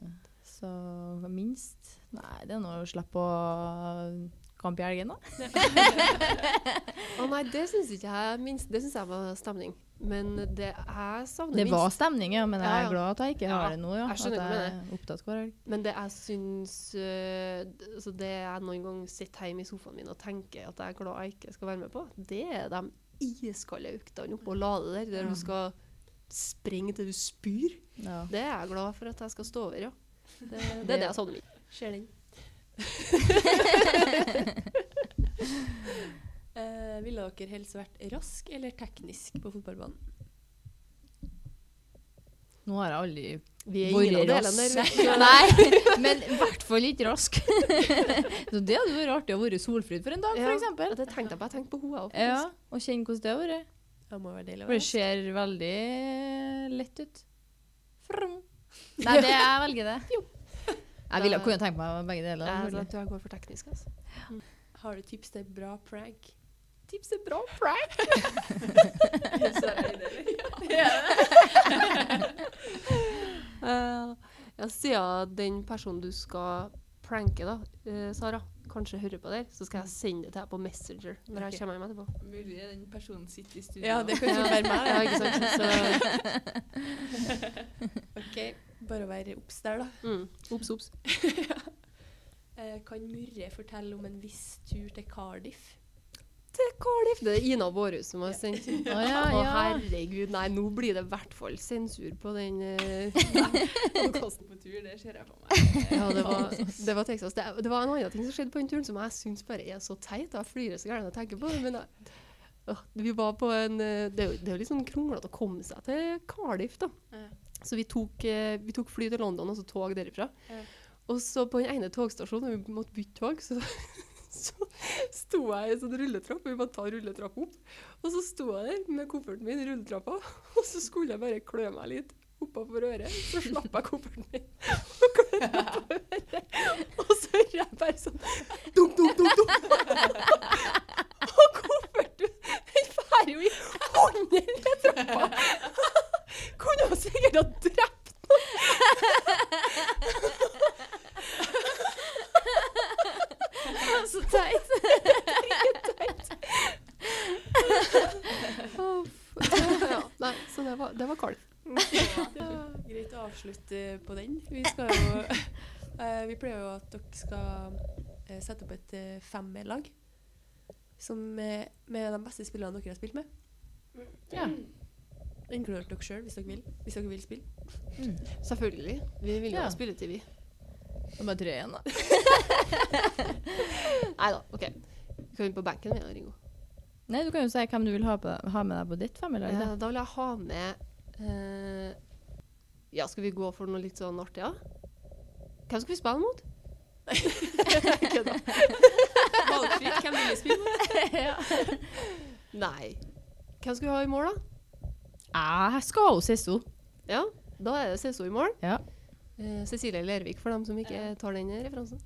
F: så hva minst Nei, det er nå å slippe å kamp i helgen, da.
B: Å nei, det syns ikke jeg minst, Det syns jeg var stemning. Men det jeg savner
F: Det
B: minst
F: var stemning, ja, men jeg
B: Ja, ja.
F: er glad at jeg ikke
B: Ja,
F: har det nå. Ja.
B: jeg skjønner
F: at
B: hva du
F: jeg er opptatt hver helg.
B: Men det jeg syns øh, d- altså Det jeg noen gang sitter hjemme i sofaen min og tenker at jeg er glad jeg ikke skal være med på, det er de iskalde øktene oppå Lade der, der du skal sprenge til du spyr.
F: Ja.
B: Det er jeg glad for at jeg skal stå over, ja. Det, det
F: Det-
B: er det jeg savner mye.
E: Ser den. eh, ville dere helst vært rask eller teknisk på fotballbanen?
F: Nå har jeg aldri
B: Vi er
F: Hvor
B: ingen av
F: er
B: delene der. vet du.
F: Nei, men i hvert fall ikke rask. så det hadde vært artig å være solfryd for en dag,
B: Ja,
F: for eksempel.
B: og Det tenkte jeg på. Jeg tenkte på henne, jeg
F: Ja, og kjenne hvordan det har vært.
E: Det må være deilig å
F: For det
E: være.
F: ser veldig lett ut. Frum. Nei, det jeg velger det. Jeg ville kunne tenke meg begge deler.
B: òg. Jeg
F: selvfølgelig.
B: tror jeg går for teknisk, altså.
E: Har du tips til bra prank?
B: Tips er bra prank. Eh, ja, siden den personen du skal pranke, da, eh, Sara, kanskje hører på der, så skal jeg sende det til deg på Messenger når jeg kommer hjem etterpå.
A: Mulig den personen sitter i studio.
E: Ja, det kan ikke være meg.
B: Ja, ikke sant? Så,
E: Ok, Bare å være obs der, da.
B: mm, obs, obs.
E: Eh, kan Murre fortelle om en viss tur til Cardiff?
B: Til Cardiff. Det er Ina Bårhus som har sendt.
F: Å ja,
B: Å,
F: ja.
B: herregud, nei, nå blir det i hvert fall sensur på den eh,
A: Podkasten på tur, det ser jeg for meg.
B: Ja, det var, det var Texas. Det, det var en annen ting som skjedde på den turen som jeg syns bare er så teit. og Jeg flirer så gærent når jeg tenker på det. Men jeg, Åh, vi var på en eh, Det er jo, det er jo litt sånn kronglete å komme seg til Cardiff, da.
A: Ja.
B: Så vi tok, eh, vi tok fly til London og så tog derifra.
A: Ja.
B: Og så på den ene togstasjonen, når vi måtte bytte tog, så, så sto jeg i en sånn rulletrapp. og Vi måtte ta rulletrappa opp. Og så sto jeg der med kofferten min i rulletrappa, og så skulle jeg bare klø meg litt oppover øret. Så slapp jeg kofferten min og klødde meg på øret. Og så hører jeg bare sånn dunk, dunk, dunk, dunk. Og kofferten den færer jo i hånden ned trappa. Kunne jo sikkert ha drept
J: Så teit.
B: ja, Nei, så det var, det var kaldt.
E: Greit å avslutte på den. Vi skal jo eh, Vi pleier jo at dere skal eh, sette opp et eh, femmerlag som, eh, med de beste spillene dere har spilt med.
F: Ja.
E: Inkludert dere sjøl, hvis dere vil. Hvis dere vil spille.
B: Selvfølgelig. Vi ville jo
F: Ja.
B: ha spilletid, vi.
F: Da bare tre igjen, da.
B: Nei da, OK. Vi kan inn på benken, vi, da, Ringo.
F: Nei, du kan jo si hvem du vil ha, på, ha med deg på ditt femmelag.
B: Eh,
F: da.
B: da vil jeg ha med eh, Ja, skal vi gå for noe litt sånn artig, da? Hvem skal vi spille mot?
A: Valgfritt, hvem vil spille?
B: Nei. Hvem skal vi ha i mål, da?
F: Jeg skal jo ses henne.
B: Ja, da er det CSO i mål.
F: Ja.
B: Eh, Cecilie Lervik, for dem som ikke tar den referansen.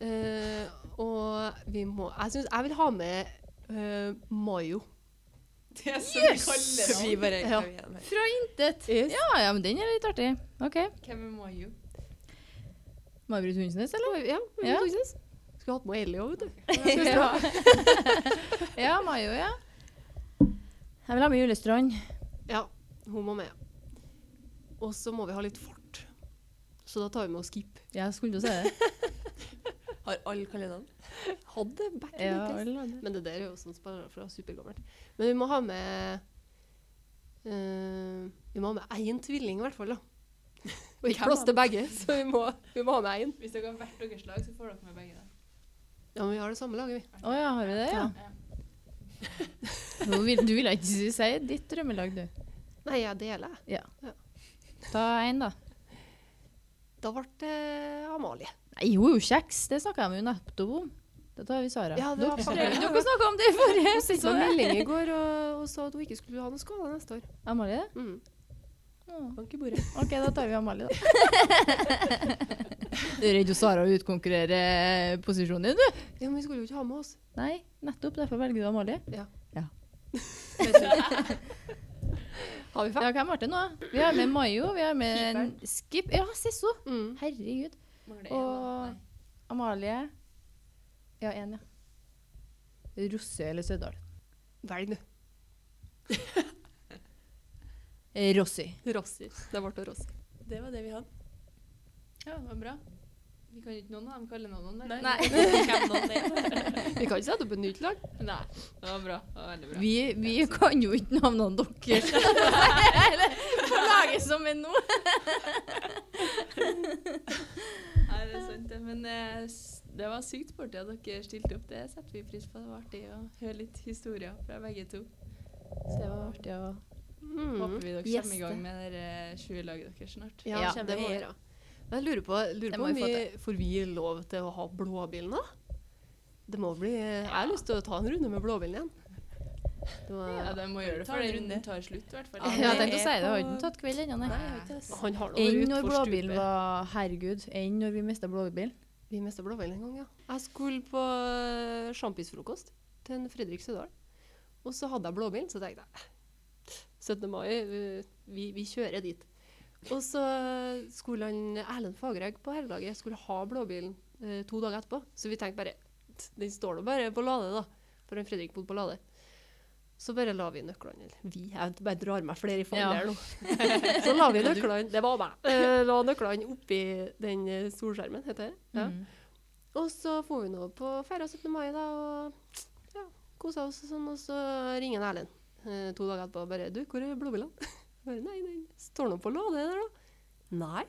B: Eh, og vi må Jeg syns jeg vil ha med eh, Mayo.
A: Det som yes! kaller
E: Vi bare
B: Ja.
E: vi gjennom her.
F: Fra intet. Ja, ja, men den er litt artig. OK.
A: Hvem er Mayo?
F: May-Britt Hundesnes, eller?
B: Ja,
F: Ja.
B: ja. Skulle hatt med Ellie òg, vet du.
F: ja. ja, Mayo, ja.
K: Jeg vil ha med julestrand.
B: Ja, hun må med. Og så må vi ha litt fart. Så da tar vi med oss Skip.
F: Jeg skulle jo si det.
E: Har alle kalenderen?
B: Hadde back in
F: Ja,
B: the days.
F: eller?
B: Men det der er jo sånn spara fra supergammelt. Men vi må ha med eh, Vi må ha med én tvilling i hvert fall, da. Og ikke plass til begge, så vi må, vi må ha med én.
A: Hvis dere har hvert deres lag, så får dere med begge. Da.
B: Ja, men vi har det samme laget, vi.
F: Å ja, har vi det? Ja.
A: Ja.
F: Du vil, du vil ikke si ditt drømmelag, du.
B: Nei, jeg deler.
F: Ta én, da.
B: Da ble det eh, Amalie.
F: Nei, hun er jo kjeks. Det snakka jeg med jo nettopp om. Da tar vi Sara.
B: Ja, det var
F: Dere-
B: Sara.
F: Dere snakka om det i forrige
B: Hun sendte meg en
F: episode.
B: melding i går og, og sa at hun ikke skulle ha noen skade neste år.
F: Amalie?
B: Mm.
F: Å,
E: Bank i bordet.
F: OK, da tar vi Amalie, da. Du er redd hun Sara utkonkurrerer posisjonen din, du?
B: Ja, Men vi skulle jo ikke ha med oss.
F: Nei, nettopp. Derfor velger du Amalie.
B: Har vi fem?
F: Ja, hvem ble det nå? Vi har med Mayo, vi har med en Skip Ja, se så!
B: Mm.
F: Herregud.
A: Mangler en, da.
F: Og Amalie Ja, én, ja. Rossø eller Sørdal?
B: Velg, du.
F: Rossy.
B: Rossi. Det ble Rossi.
E: Det var det vi hadde.
A: Ja, det var bra. Vi kan jo ikke noen av dem kalle noen der.
E: Nei.
B: Vi kan ikke sette opp et nytt lag.
A: Nei. Det var bra. Det var veldig bra.
F: Vi, vi kan jo ikke navnene deres. Eller på laget som er nå.
A: Nei, det er sant, det. Men eh, s- det var sykt sporty at dere stilte opp. Det setter vi pris på. Det var artig å høre litt historier fra begge to. Så det var artig å
B: Mm.
A: Håper vi dere kommer i gang med det eh, sjuelaget deres snart.
B: Ja,
F: Ja,
B: det må vi gjøre. Men jeg lurer på, lurer
F: Det
B: på
F: må
B: om
F: vi
B: vi
F: få
B: får vi lov til å ha blåbilen da? Det må bli Jeg har lyst til å ta en runde med blåbilen igjen. Det var,
A: Ja, de må gjøre det
E: Ta
A: for
E: en
A: den
E: runde.
A: runden tar slutt, i hvert fall.
E: Ja,
F: Jeg
E: det
F: tenkte å si det.
E: er
F: Har
E: på-
F: ikke tatt kveld
E: Nei,
F: ennå, nei.
E: jeg har ikke det.
B: Han har
F: Enn
B: noe
F: når
B: utfor
F: blåbilen
B: stupet.
F: var Herregud, enn når vi mista blåbilen.
B: Vi mista blåbilen en gang, ja. Jeg skulle på sjampisfrokost til en Fredrik Sødal. Og så hadde jeg blåbilen, så tenkte jeg "Eh, 17. mai, eh, vi, vi kjører dit. Og så skulle han Erlend Fagerhaug på herrelaget skulle ha blåbilen eh, to dager etterpå. Så vi tenkte bare "T- Den står nå bare på Lade, da. For han Fredrik bodde på Lade. Så bare la vi nøklene eller Vi, jeg bare drar meg flere i fanget
F: Ja.
B: her nå. Så la vi nøklene Det var meg. Eh, la nøklene oppi den eh, solskjermen, heter det. Ja.
F: Mm.
B: Og så får vi nå på feira 17. mai, da, og ja, kosa oss og sånn. Og så ringer en Erlend eh, to dager etterpå og bare 'Du, hvor er blåbilene?' Jeg bare 'Nei, den står nå på lade der, da'. 'Nei,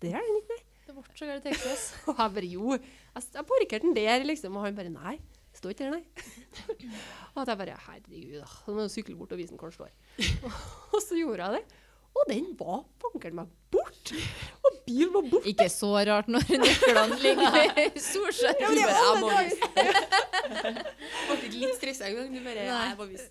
B: det er den ikke, nei'.
A: Det ble så galt Texas.
B: Og jeg bare 'Jo, jeg, s- jeg parkerte den der', liksom. Og han bare 'Nei, står ikke der, nei'. Og at jeg bare 'Herregud, da. Så må jeg sykle bort og vise den hvor den står'. Og, og så gjorde jeg det. Og den var bankeren meg bort! Og bilen var borte!
F: Ikke så rart når nøklene ligger i solskjerm.
B: men det er
F: Ja,
B: alle
F: må
B: dager.
F: vise.
E: Jeg ble litt stressa en gang. Du bare
F: Nei.
E: Jeg må vise.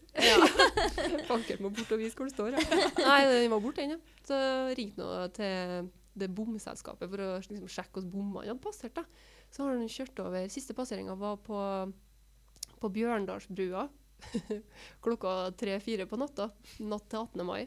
B: Banker må bort og vise hvor det står. Ja. Nei, den var borte, den, ja. Så ringte han til det bomselskapet for å liksom, sjekke hvordan bommene hadde passert. da. Så har han kjørt over Siste passeringa var på, på Bjørndalsbrua klokka tre-fire på natta. Natt til 18. mai.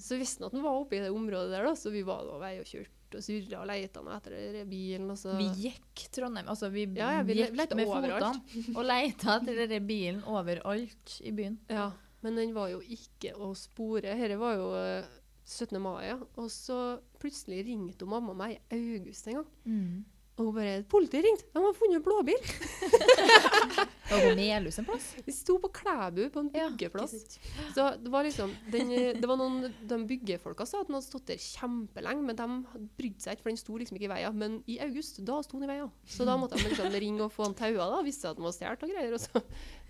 B: Så visste han at han var oppe i det området der, da, så vi var nå vei og kjørte og surra og leita etter den der bilen. Og så
F: Vi gikk Trondheim. Altså, vi
B: Ja, ja, vi
F: gikk
B: lette
F: med
B: overalt.
F: fotene og leita etter denne bilen overalt i byen.
B: Ja, men den var jo ikke å spore. Dette var jo eh, 17. mai, ja. og så plutselig ringte hun mamma meg i august en gang. Og hun bare 'Politiet ringte! De har funnet en blåbil!'
F: Og Melhus en plass.
B: De sto på Klæbu, på en
F: Ja,
B: byggeplass. så det var liksom den, eh, det var noen, De byggefolka sa at den hadde stått der kjempelenge, men de hadde brydde seg ikke, for den sto liksom ikke i veien. Men i august, da sto den i veien. Så da måtte de liksom ringe og få han taua, da, visste at den var stjålet og greier. Og så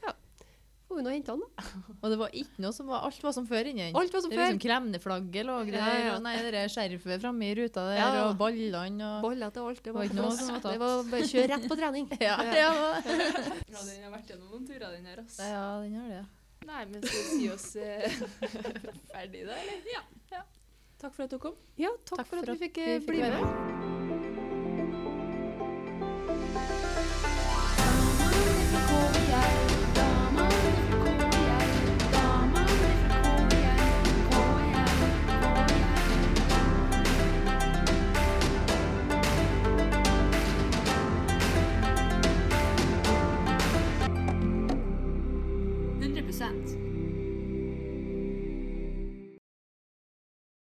B: ja, får vi nå hente han, da.
F: Og det var ikke noe som var Alt var som før inni den.
B: Alt var som
F: Det
B: før.
F: er liksom Klemneflagget lå der,
B: Ja, ja.
F: og nei, det der skjerfet framme i ruta der,
B: Ja.
F: og ballene og
B: Baller til alt. Det
F: Var
B: var, på
F: ikke noe
B: plass.
F: som var tatt.
B: Det var bare å kjøre rett på trening.
F: ja, ja, ja,
A: Ja, den har vært gjennom noen turer, den her, ass.
F: den har det.
A: Nei, men skal vi si oss eh, ferdig da, eller? Ja.
E: Takk for at du kom.
B: Ja, takk,
F: Takk
B: for at vi fikk
F: vi
B: eh,
F: fikk
B: bli
F: være
B: med.
F: med.